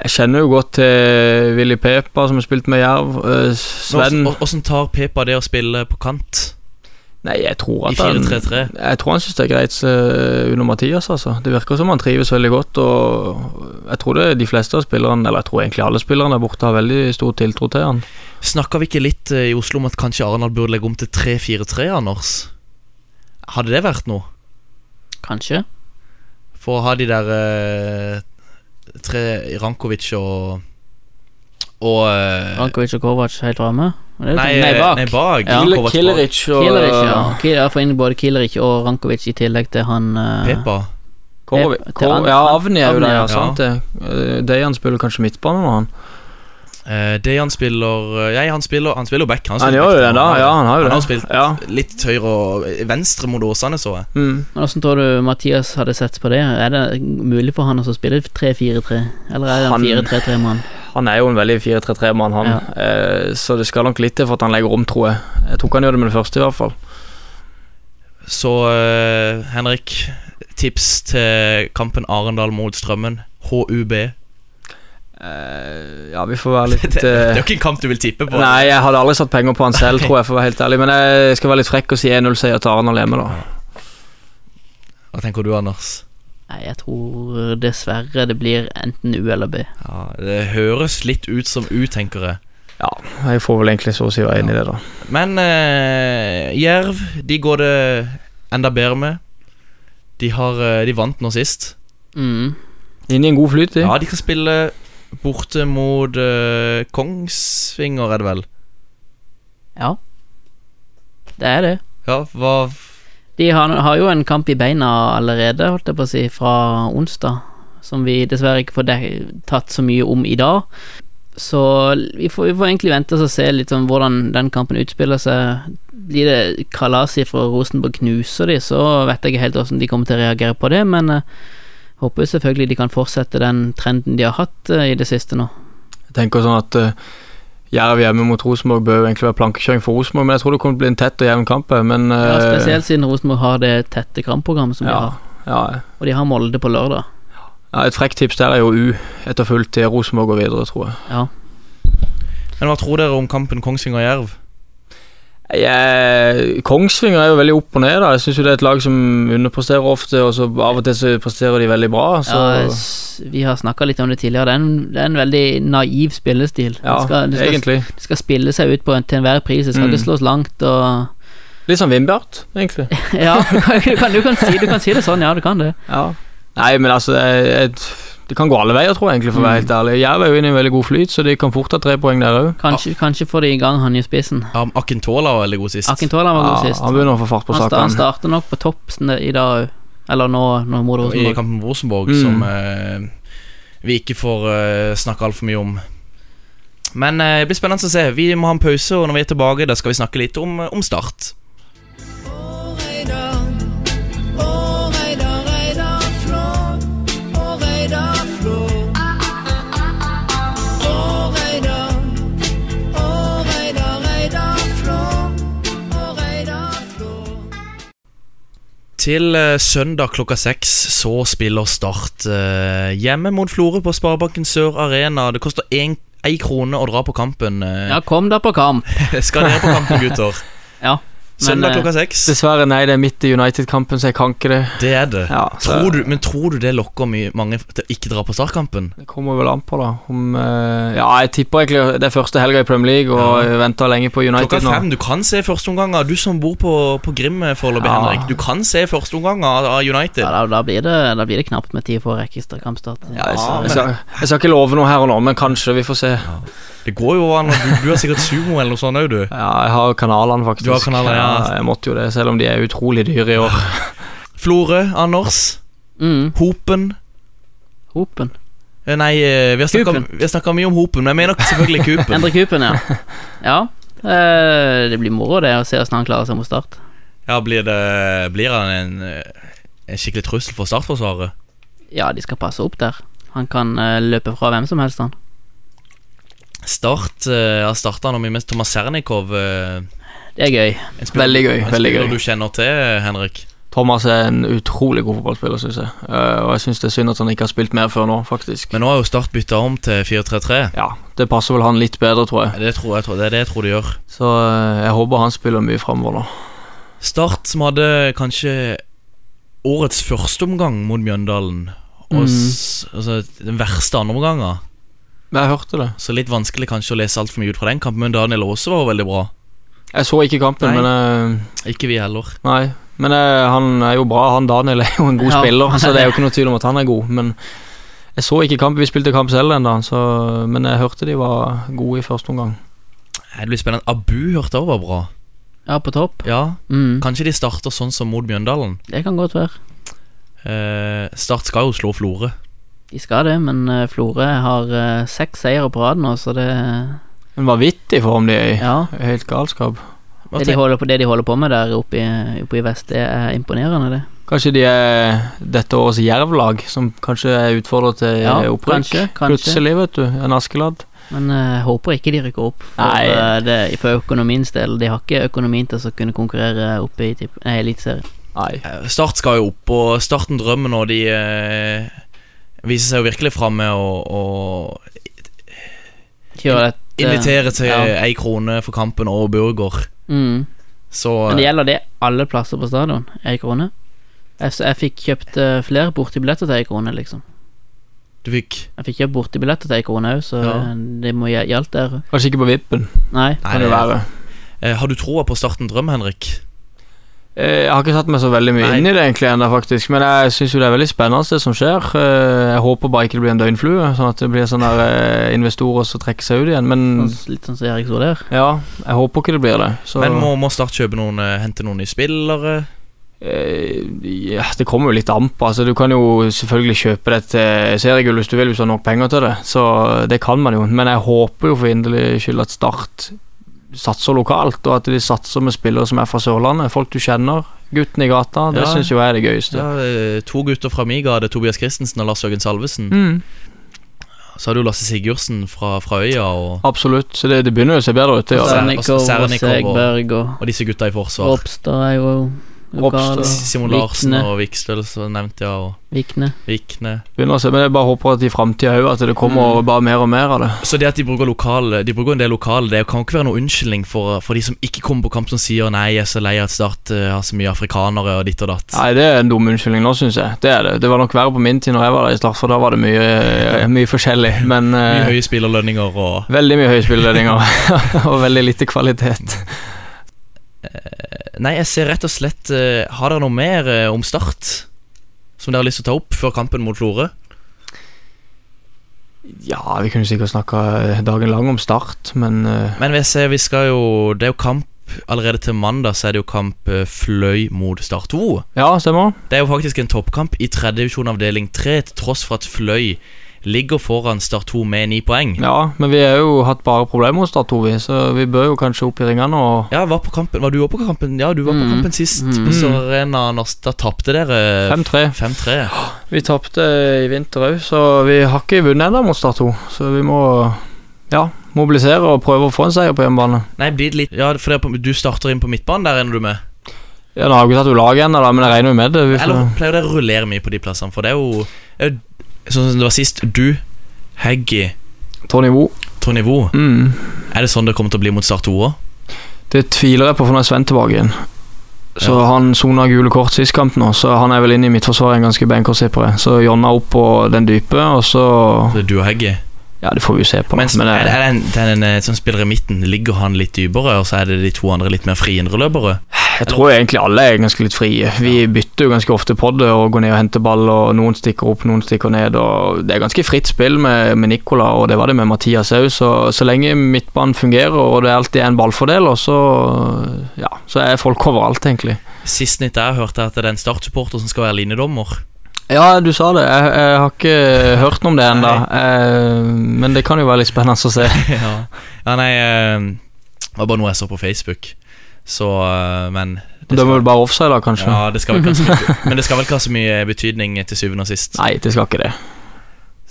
Speaker 5: Jeg kjenner jo godt til Willy Pepa, som har spilt med Jerv. eh, Sven
Speaker 3: Åssen tar Pepa det å spille på kant
Speaker 5: Nei, jeg tror
Speaker 3: i
Speaker 5: at han
Speaker 3: 4-3-3?
Speaker 5: Jeg tror han syns det er greit eh, under Mathias, altså. Det virker som han trives veldig godt, og jeg tror det er de fleste av spillerne, eller jeg tror egentlig alle spillerne der borte, har veldig stor tiltro til han.
Speaker 3: Snakka vi ikke litt eh, i Oslo om at kanskje Arendal burde legge om til 3-4-3, Anders? Hadde det vært noe?
Speaker 4: Kanskje.
Speaker 3: For å ha de der eh, tre Rankovic og Og eh,
Speaker 4: Rankovic og Kovac helt framme. Det er jo- sånn-
Speaker 3: Nei, eh,
Speaker 4: nei, bak.
Speaker 3: nei, bak.
Speaker 4: Ja.
Speaker 3: Kovac bak.
Speaker 4: Kilerich, ja. Kiel- ja. Få inn både Kilerich og Rankovic i tillegg til han eh,
Speaker 3: Pepa.
Speaker 5: Korovi-
Speaker 4: Pep- til
Speaker 5: Kor-
Speaker 4: An-
Speaker 5: Eh, Ja, Avni er jo
Speaker 4: Avni,
Speaker 5: der,
Speaker 4: ja.
Speaker 5: ja. Sant det. Eh, Dejan spiller kanskje midtbane nå, han.
Speaker 3: Eh, det han spiller eh, Nei, han spiller Han spiller jo back. Han,
Speaker 5: Han
Speaker 3: spiller
Speaker 5: gjør jo
Speaker 3: back.
Speaker 5: det, da. Altså, Ja, han har jo
Speaker 3: Han
Speaker 5: det.
Speaker 3: har spilt
Speaker 5: Ja.
Speaker 3: litt til høyre og eh, venstre mot Åsane, så jeg.
Speaker 5: Mm.
Speaker 4: Men Hvordan tror du Mathias hadde sett på det? Er det mulig for han å spille 3-4-3, eller er det
Speaker 5: Han-
Speaker 4: en 4-3-3-mann?
Speaker 5: Han er jo en veldig 4-3-3-mann, han.
Speaker 4: Ja.
Speaker 5: Eh, så det skal nok litt til for at han legger om, tror jeg. Jeg tror ikke han gjør det med det første, i hvert fall.
Speaker 3: Så eh, Henrik, tips til kampen Arendal mot Strømmen. HUB.
Speaker 5: Eh, ja, vi får være
Speaker 3: Det,
Speaker 5: litt
Speaker 3: det er
Speaker 5: eh,
Speaker 3: jo ikke en kamp du vil tippe på.
Speaker 5: Nei, jeg hadde aldri satt penger på han selv, tror jeg, for å være helt ærlig. Men jeg skal være litt frekk og si 1-0-seier til Arendal hjemme, da.
Speaker 3: Hva tenker du, Anders?
Speaker 4: Nei, jeg tror dessverre det blir enten U eller B.
Speaker 3: Ja, det høres litt ut som utenkere.
Speaker 5: Jeg får vel egentlig så å si være enig i det, da.
Speaker 3: Men eh, Jerv, de går det enda bedre med. De, har, eh, de vant nå sist.
Speaker 4: Mm.
Speaker 5: Inn i en god flyt, de.
Speaker 3: Ja, de kan spille borte mot eh, Kongsvinger, er det vel?
Speaker 4: Ja. Det er det.
Speaker 3: Ja, hva
Speaker 4: De har, har jo en kamp i beina allerede, holdt jeg på å si, fra onsdag. Som vi dessverre ikke får dek- tatt så mye om i dag. Så vi får, vi får egentlig vente oss og se litt sånn hvordan den kampen utspiller seg. Blir det kalas fra Rosenborg knuser de, så vet jeg ikke helt hvordan de kommer til å reagere på det, men eh, håper jo selvfølgelig de kan fortsette den trenden de har hatt eh, i det siste nå.
Speaker 5: Jeg tenker sånn at eh, Jerv hjemme mot Rosenborg bør jo egentlig være plankekjøring for Rosenborg, men jeg tror det kommer til å bli en tett og jevn kamp. jeg, Men eh,
Speaker 4: Ja, spesielt siden Rosenborg har det tette kampprogrammet som de
Speaker 5: ja,
Speaker 4: har,
Speaker 5: ja,
Speaker 4: og de har Molde på lørdag.
Speaker 5: ja, Et frekt tips der er jo U etter fullt til Rosenborg og videre, tror jeg.
Speaker 4: Ja.
Speaker 3: Men hva tror dere om kampen Kongsvinger-Jerv?
Speaker 5: Jeg, Kongsvinger er jo veldig opp og ned. da Jeg syns det er et lag som underpresterer ofte, og så av og til så presterer de veldig bra. Så
Speaker 4: Ja, s- vi har snakka litt om det tidligere. Det er en, det er en veldig naiv spillestil.
Speaker 5: ja,
Speaker 4: det, skal, det, skal,
Speaker 5: egentlig.
Speaker 4: det skal spille seg ut på en, til enhver pris. Det skal
Speaker 5: Mm.
Speaker 4: ikke slås langt og
Speaker 5: Litt sånn Vindbjart, egentlig.
Speaker 4: Ja, du kan, du, kan si, du kan si det sånn, ja, du kan det.
Speaker 5: Nei, men altså jeg, jeg, Det kan gå alle veier, tror jeg, egentlig, for å være
Speaker 4: Mm.
Speaker 5: helt ærlig. Jerv er jo inne i en veldig god flyt, så de kan fort ta tre poeng der òg.
Speaker 4: Kanskje, kanskje får de i gang han i spissen.
Speaker 3: Ja, men Akintola var veldig god sist.
Speaker 4: Akintola var god sist.
Speaker 5: han
Speaker 4: Han,
Speaker 5: begynner å få fart på
Speaker 4: sta- han
Speaker 5: sakene.
Speaker 4: starter nok på topp sn- i dag òg. Eller nå, nå må
Speaker 3: I
Speaker 4: det Rosenborg.
Speaker 3: kampen mot Rosenborg,
Speaker 5: Mm.
Speaker 3: som eh, vi ikke får eh, snakke altfor mye om. Men eh, det blir spennende å se. Vi må ha en pause, og når vi er tilbake, da skal vi snakke litt om, om Start. Til eh, søndag klokka seks så spiller Start eh, hjemme mot Florø på Sparebanken Sør Arena. Det koster én krone å dra på kampen. eh.
Speaker 4: Ja, kom da på kamp.
Speaker 3: Skal dere på kampen, gutter?
Speaker 4: Ja,
Speaker 3: Søndag
Speaker 4: eh,
Speaker 3: klokka seks.
Speaker 5: Dessverre, nei, det er midt i United-kampen, så jeg kan ikke det.
Speaker 3: Det er det.
Speaker 5: Ja, så
Speaker 3: Tror du, men tror du det lokker mye, mange til å ikke dra på Start-kampen?
Speaker 5: Det kommer vel an på, da. Om, eh, ja, jeg tipper egentlig det er første helga i Premier League, og jeg venter lenge på
Speaker 3: Klokka
Speaker 5: United nå.
Speaker 3: fem, du kan se førsteomganger. Du som bor på, på Grim eh, foreløpig,
Speaker 5: Ja.
Speaker 3: Henrik. Du kan se førsteomganger av- av United.
Speaker 4: ja, da, da, blir det, da blir det knapt med tid for ekstra kampstart.
Speaker 5: Ja, jeg, skal, jeg, skal, jeg skal ikke love noe her og nå, men kanskje. Vi får se.
Speaker 3: Det går jo over hverandre. Du, du har sikkert sumo eller noe sånt òg, du.
Speaker 5: Ja, jeg har kanalene, faktisk.
Speaker 3: Du har kanalene, ja.
Speaker 5: Jeg måtte jo det, selv om de er utrolig dyre i år.
Speaker 3: Florø, Anders,
Speaker 4: Mm,
Speaker 3: Hopen.
Speaker 4: Hopen.
Speaker 3: Eh, Nei, eh, vi har snakket-
Speaker 4: Kupen.
Speaker 3: vi har snakka mye om Hopen, men jeg mener selvfølgelig Kupen.
Speaker 4: Endre Kupen, ja. ja. eh, det blir moro det å se hvordan han klarer seg mot Start.
Speaker 3: Ja, blir, det, blir han en, eh, en skikkelig trussel for startforsvaret?
Speaker 4: Ja, de skal passe opp der. Han kan eh, løpe fra hvem som helst, han.
Speaker 3: Start eh, har starta nå mye med Thomas Sernikov. eh,
Speaker 4: Det er gøy.
Speaker 3: En spiller,
Speaker 5: Veldig gøy,
Speaker 3: en
Speaker 5: veldig
Speaker 3: spiller
Speaker 5: gøy.
Speaker 3: du kjenner til, Henrik.
Speaker 5: Thomas er en utrolig god fotballspiller, syns jeg. Eh, og jeg syns det er synd at han ikke har spilt mer før nå, faktisk.
Speaker 3: Men nå har jo Start bytta om til 4-3-3.
Speaker 5: ja, det passer vel han litt bedre, tror jeg.
Speaker 3: Det, tror jeg, tror- det er det jeg tror de gjør.
Speaker 5: Så eh, jeg håper han spiller mye framover nå.
Speaker 3: Start som hadde kanskje årets første omgang mot Mjøndalen.
Speaker 4: Mm.
Speaker 3: Og s, altså, den verste andreomgangen.
Speaker 5: Men jeg hørte det.
Speaker 3: Så litt vanskelig kanskje å lese altfor mye ut fra den kampen, men Daniel Aase var jo veldig bra.
Speaker 5: Jeg så ikke kampen,
Speaker 3: Nei.
Speaker 5: men eh,
Speaker 3: Ikke vi heller.
Speaker 5: Nei, men eh, han er jo bra. Han Daniel er jo en god
Speaker 4: Ja.
Speaker 5: spiller, så det er jo ikke noe tvil om at han er god. Men jeg så ikke kamp, vi spilte kamp selv ennå, men jeg hørte de var gode i første omgang.
Speaker 3: Nei, Det blir spennende. Abu hørte også var bra.
Speaker 4: Ja, på topp.
Speaker 3: Ja,
Speaker 4: Mm,
Speaker 3: Kanskje de starter sånn som mot Mjøndalen.
Speaker 4: det kan godt være.
Speaker 3: Eh, start skal jo slå Florø.
Speaker 4: De skal det, men eh, Florø har eh, seks seire på rad nå, så det
Speaker 5: En vanvittig form de er i.
Speaker 4: Ja.
Speaker 5: Helt galskap.
Speaker 3: Hva
Speaker 4: Det de
Speaker 3: tenk-
Speaker 4: holder på, det de holder på med der oppe i, oppe i vest, det er imponerende, det.
Speaker 5: Kanskje de er dette årets Jerv-lag, som kanskje er utfordret til eh,
Speaker 4: Ja,
Speaker 5: opprykk.
Speaker 4: kanskje, kanskje.
Speaker 5: Plutselig, vet du. En Askeladd.
Speaker 4: Men eh, jeg håper ikke de rykker opp for,
Speaker 5: Nei.
Speaker 4: eh, det, for økonomiens del. De har ikke økonomien til å kunne konkurrere oppe i typ- nei, Eliteserien.
Speaker 5: Nei.
Speaker 3: Eh, Start skal jo opp, og starten drømmer når de eh, viser seg jo virkelig framme og, og
Speaker 4: Kjører et, eh,
Speaker 3: inviterer til
Speaker 4: ja.
Speaker 3: ei krone for kampen og burger.
Speaker 4: Mm.
Speaker 3: Så
Speaker 4: Men det gjelder det alle plasser på stadion. Ei krone. Jeg, s- jeg fikk kjøpt eh, flere bortebilletter til ei krone, liksom.
Speaker 3: du fikk
Speaker 4: Jeg fikk kjøpt bortebilletter til ei krone òg, så
Speaker 3: Ja.
Speaker 4: eh, det må gje- gjaldt der.
Speaker 5: Kanskje ikke på vippen,
Speaker 4: Nei.
Speaker 3: Nei,
Speaker 5: kan det være.
Speaker 3: eh, Har du troa på starten drøm, Henrik?
Speaker 5: Eh, Jeg har ikke satt meg så veldig mye
Speaker 3: Nei.
Speaker 5: inn i det egentlig ennå, faktisk. Men jeg syns jo det er veldig spennende det som skjer. Eh, Jeg håper bare ikke det blir en døgnflue, sånn at det blir sånne der, eh, investorer som trekker seg ut igjen.
Speaker 3: Mm.
Speaker 5: Men
Speaker 4: Sånn- Litt sånn som Erik Soler.
Speaker 5: ja, jeg håper ikke det blir det. Så
Speaker 3: Men må, må Start kjøpe noen, eh, hente noen nye spillere?
Speaker 5: eh, ja, Det kommer jo litt an på. Altså, du kan jo selvfølgelig kjøpe det til seriegull hvis du vil, hvis du har nok penger til det. Så det kan man jo. Men jeg håper jo for inderlig skyld at Start satser lokalt, og at de satser med spillere som er fra Sørlandet. Folk du kjenner. Guttene i gata. Det
Speaker 3: Ja.
Speaker 5: syns jo jeg er det gøyeste.
Speaker 3: Ja, eh, to gutter fra mi gate, Tobias Christensen og Lars Høgen Salvesen.
Speaker 5: Mm.
Speaker 3: Så har du Lasse Sigurdsen fra, fra Øya og
Speaker 5: Absolutt. Så det, det begynner jo å se bedre ut. Det, gjør det.
Speaker 3: altså, Særlig.
Speaker 4: Sernikov og
Speaker 3: Sernikov og-
Speaker 4: Segberg og
Speaker 3: Og disse gutta i forsvar.
Speaker 4: Ropstad er jo
Speaker 5: Ropstad.
Speaker 4: Lokal-
Speaker 3: Simon Larsen
Speaker 4: Vikne.
Speaker 3: og Vikstøl, så nevnte jeg, og
Speaker 4: Vikne.
Speaker 3: Vikne.
Speaker 5: Begynner å se, men jeg bare håper at i framtida òg at det kommer
Speaker 3: Mm.
Speaker 5: bare mer og mer av det.
Speaker 3: Så det at de bruker, lokale, de bruker en del lokale, det kan jo ikke være noen unnskyldning for, for de som ikke kommer på kamp, som sier 'nei, jeg er så lei av at Start eh, har så mye afrikanere' og ditt og datt.
Speaker 5: Nei, det er en dum unnskyldning nå, syns jeg. Det er det. Det var nok verre på min tid når jeg var der i start, for da var det mye, mye forskjellig. Men
Speaker 3: Mye
Speaker 5: eh,
Speaker 3: høye spillerlønninger og
Speaker 5: veldig mye høyspillerledninger og veldig lite kvalitet.
Speaker 3: Nei, jeg ser rett og slett eh, Har dere noe mer eh, om Start? Som dere har lyst til å ta opp før kampen mot Florø?
Speaker 5: Ja, vi kunne sikkert snakka eh, dagen lang om Start, men eh,
Speaker 3: Men vi ser, vi skal jo Det er jo kamp allerede til mandag, så er det jo kamp eh, Fløy mot Start 2.
Speaker 5: Ja, stemmer.
Speaker 3: Det er jo faktisk en toppkamp i tredje divisjon avdeling 3, til tross for at Fløy ligger foran Start 2 med ni poeng.
Speaker 5: Ja, men vi har jo hatt bare problemer hos Start, Tove, så vi bør jo kanskje opp i ringene og
Speaker 3: Ja, var, på kampen. var du òg på kampen? Ja, du var på
Speaker 4: Mm.
Speaker 3: kampen sist.
Speaker 4: Mm.
Speaker 3: På Sør Arena Norsk. Da tapte dere eh,
Speaker 5: 5-3.
Speaker 3: 5-3.
Speaker 5: Vi tapte i vinter òg, så vi har ikke vunnet ennå mot Start 2. Så vi må ja, mobilisere og prøve å få en seier på hjemmebane.
Speaker 3: Nei, blir det litt Ja, for det er på, du starter inn på midtbanen, der ender du med?
Speaker 5: Ja, Nå har vi ikke tatt ut laget ennå, da, men jeg regner jo med det. Vi får,
Speaker 3: Eller pleier dere å rullere mye på de plassene? For det er jo det er jo Sånn som det var sist. Du, Heggy,
Speaker 5: Tony Wu.
Speaker 3: Tornivo.
Speaker 5: Mm.
Speaker 3: Er det sånn det kommer til å bli mot Start 2 òg?
Speaker 5: Det tviler jeg på, for nå er Sven tilbake igjen. Så
Speaker 3: Ja.
Speaker 5: Han sona gule kort sist kamp nå, så han er vel inne i midtforsvaret en ganske benkorsipper. Så Jonna opp på den dype, og så
Speaker 3: Du og Heggy.
Speaker 5: Ja, det får vi jo se på.
Speaker 3: Mens
Speaker 5: men det-
Speaker 3: er det, er det en, det er en eh, som spiller i midten, ligger han litt dypere, og så er det de to andre litt mer friindreløpere?
Speaker 5: Jeg tror egentlig alle er ganske litt frie. Vi bytter jo ganske ofte på det og går ned og henter ball, og noen stikker opp, noen stikker ned. Og det er ganske fritt spill med, med Nicola, og det var det med Mathias òg. Så, så lenge midtbanen fungerer og det alltid er en ballfordeler, så, ja, så er folk overalt, egentlig.
Speaker 3: Sist nytt jeg hørte, at det er en Start-supporter som skal være linjedommer.
Speaker 5: Ja, du sa det. Jeg, jeg har ikke hørt noe om det ennå. Eh, Men det kan jo være litt spennende å se.
Speaker 3: ja. ja, nei eh, Det var bare noe jeg så på Facebook. Så, eh, men
Speaker 5: Da må vel bare offside, da, kanskje?
Speaker 3: ja, det skal vel ikke ha så mye- Men det skal vel ikke ha så mye betydning til syvende og sist.
Speaker 5: Nei, det skal ikke det.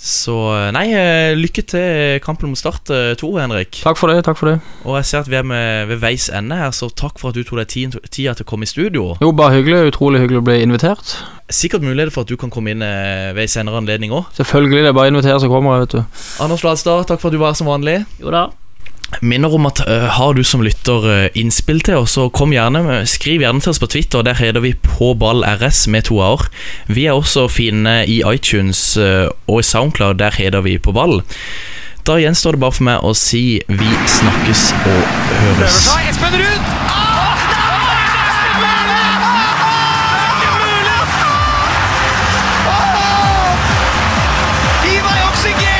Speaker 3: Så eh, nei, eh, lykke til kampen mot Start 2, Henrik.
Speaker 5: Takk for det. takk for det
Speaker 3: Og jeg ser at vi er med, ved veis ende her, så takk for at du tok deg tiden- tida til å komme i studio.
Speaker 5: Jo, bare hyggelig. Utrolig hyggelig å bli invitert.
Speaker 3: Sikkert mulighet for at du kan komme inn eh, ved en senere anledning òg.
Speaker 5: Selvfølgelig. Det er bare å invitere, så kommer jeg, vet du.
Speaker 3: Anders Flatstad, takk for at du var her som vanlig.
Speaker 4: Jo da.
Speaker 3: Minner om at eh, har du som lytter eh, innspill til oss, så kom gjerne med, skriv gjerne til oss på Twitter. Der heter vi på ball RS med to a-er. Vi er også fine i iTunes eh, og i Soundcloud. Der heter vi på ball. Da gjenstår det bare for meg å si vi snakkes og høres.
Speaker 2: Prøver seg. Espen Ruud! Ah! Det er ikke mulig! Ah! Gi meg oksygen!